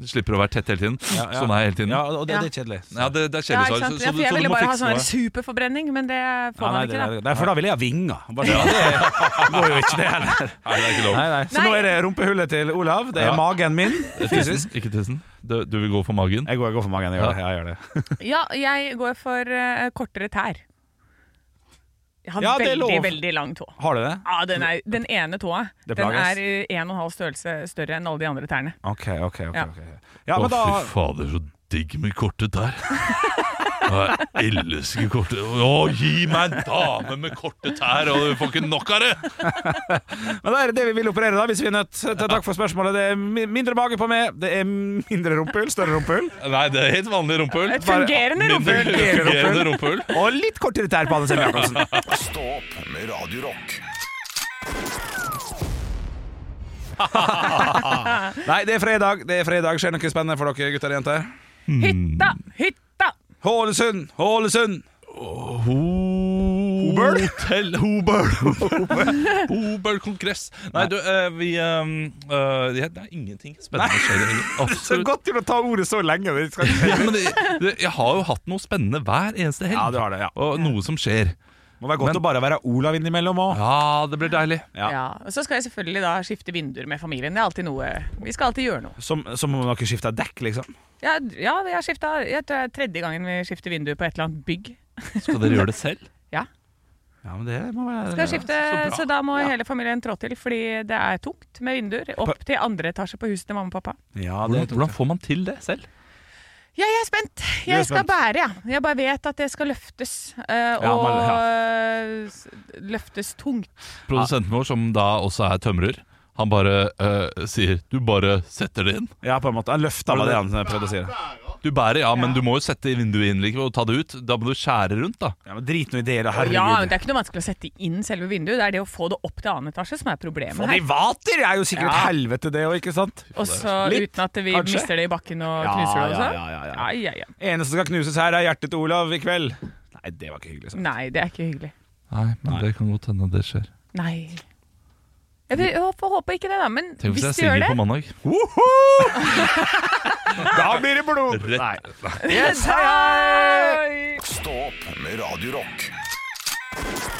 Speaker 3: slipper å være tett hele tiden.
Speaker 2: ja.
Speaker 3: Sånn er jeg hele tiden.
Speaker 2: Ja,
Speaker 3: Ja,
Speaker 2: og det, det er kjedelig.
Speaker 3: det, det er kjedelig
Speaker 4: ikke
Speaker 3: svar.
Speaker 4: sant? ja, for jeg ville bare ha sånn her superforbrenning, men det får
Speaker 2: Ja, nei,
Speaker 4: man
Speaker 2: det,
Speaker 4: ikke, da.
Speaker 2: det- nei, for da ville jeg ha vinger. Bare, Det går jo ikke, det heller.
Speaker 3: Nei, det er ikke lov.
Speaker 2: Nei, nei. Så
Speaker 4: Nei.
Speaker 2: nå er det rumpehullet til Olav. Det er
Speaker 3: Ja.
Speaker 2: magen min. Fysisk.
Speaker 3: Tissen, ikke tissen. Du, du vil gå for magen?
Speaker 2: Jeg går, jeg går for magen. Jeg gjør
Speaker 3: Ja.
Speaker 2: det. Jeg gjør det.
Speaker 4: Ja, jeg går for eh, kortere tær. Jeg har
Speaker 2: Ja, det er
Speaker 4: veldig,
Speaker 2: lov.
Speaker 4: veldig lang tå.
Speaker 2: Har du det?
Speaker 4: Ja, den, er, den ene tåa
Speaker 2: Det
Speaker 4: den
Speaker 2: plages.
Speaker 4: er eh, en og en halv størrelse større enn alle de andre tærne.
Speaker 2: OK, OK. ok,
Speaker 4: Ja.
Speaker 2: ok. Ja,
Speaker 3: Å,
Speaker 2: men da
Speaker 3: fy fader, så digg med kortet der. Jeg elsker kortet. Å, gi meg en dame med korte tær, og du får ikke nok av det!
Speaker 2: Men det er det vi vil operere, da, hvis vi er nødt. til- Takk for spørsmålet. Det er mi- mindre mage på meg, det er mindre rumpehull, større rumpehull.
Speaker 3: Nei, det er helt vanlig rumpehull.
Speaker 4: Et fungerende
Speaker 3: Mindre
Speaker 4: rumpehull!
Speaker 3: fungerende rumpehull.
Speaker 2: Og litt kortere tær på Anne Sem Jacobsen.
Speaker 1: Stå opp med Radio Rock.
Speaker 2: Nei, det er fredag. Det er fredag. Skjer noe spennende for dere gutter og jenter?
Speaker 4: Hytta! Hytta!
Speaker 2: Hålesund! Hålesund!
Speaker 3: Hobøl? Hotell Hobøl. (laughs) Hobøl kongress. Nei, du, eh, vi eh, eh, Det er ingenting spennende skjer. (laughs) i helgen.
Speaker 2: Så
Speaker 3: Absolutt.
Speaker 2: godt til å ta ordet så lenge. Det skal
Speaker 3: Ja, men det, det, jeg har jo hatt noe spennende hver eneste helg.
Speaker 2: Ja, du har det, ja.
Speaker 3: Og noe som skjer.
Speaker 2: Må være godt å bare være Olav innimellom òg.
Speaker 3: Ja, det blir deilig.
Speaker 2: Ja.
Speaker 4: Ja. og Så skal jeg selvfølgelig da skifte vinduer med familien. Det er alltid noe Vi skal alltid gjøre noe.
Speaker 2: Som, som om dere skifter dekk, liksom.
Speaker 4: Ja, ja vi har skifta Jeg tror det er tredje gangen vi skifter vinduer på et eller annet bygg.
Speaker 3: Skal dere gjøre det (laughs) selv?
Speaker 4: Ja.
Speaker 2: Ja, men det må være
Speaker 4: Skal skifte,
Speaker 3: så bra.
Speaker 4: så, da må hele familien trå til, fordi det er tungt med vinduer. Opp til andre etasje på huset til mamma og pappa.
Speaker 2: Ja, det,
Speaker 3: Hvordan, hvordan får man til det selv?
Speaker 4: Ja, jeg er spent. Jeg
Speaker 2: er
Speaker 4: skal
Speaker 2: spent.
Speaker 4: bære, ja. Jeg bare vet at det skal løftes. eh, og
Speaker 2: men-
Speaker 4: eh, s- løftes tungt.
Speaker 3: Produsenten vår, som da også er tømrer, han bare eh, sier 'du bare setter det inn'.
Speaker 2: ja, på en måte. Han løfta var det han eh, prøvde å si. det.
Speaker 3: Du bærer, ja, men du må jo sette vinduet inn likevel og ta det ut. Da må du skjære rundt, da.
Speaker 2: Ja, men Drit nå i det, da. Herregud.
Speaker 4: Ja, men Det er ikke noe vanskelig å sette inn selve vinduet. Det er det å få det opp til annen etasje som er problemet
Speaker 2: Og de
Speaker 4: her.
Speaker 2: vater er jo sikkert
Speaker 4: Ja.
Speaker 2: helvete, det òg, ikke sant?
Speaker 4: Og så
Speaker 2: Litt,
Speaker 4: uten at vi
Speaker 2: kanskje?
Speaker 4: mister det i bakken og
Speaker 2: Ja,
Speaker 4: knuser det
Speaker 2: ja,
Speaker 4: også.
Speaker 2: ja, ja, ja.
Speaker 4: ja, ja.
Speaker 2: Eneste som skal knuses her, er hjertet til Olav i kveld. Nei, det var ikke hyggelig. sagt.
Speaker 4: Nei, det er ikke hyggelig.
Speaker 3: Nei, men det kan godt hende det skjer.
Speaker 4: Nei. Jeg vil- jeg håper, håper ikke det, da. Men
Speaker 3: Tenk hvis
Speaker 4: hvis
Speaker 3: jeg
Speaker 4: du gjør
Speaker 3: synger
Speaker 4: det
Speaker 3: på
Speaker 4: (laughs)
Speaker 3: mandag.
Speaker 2: (laughs) Da blir det blod!
Speaker 3: Rett-
Speaker 2: Nei.
Speaker 4: Yes, hei, hei!
Speaker 1: Stå opp med Radio Rock.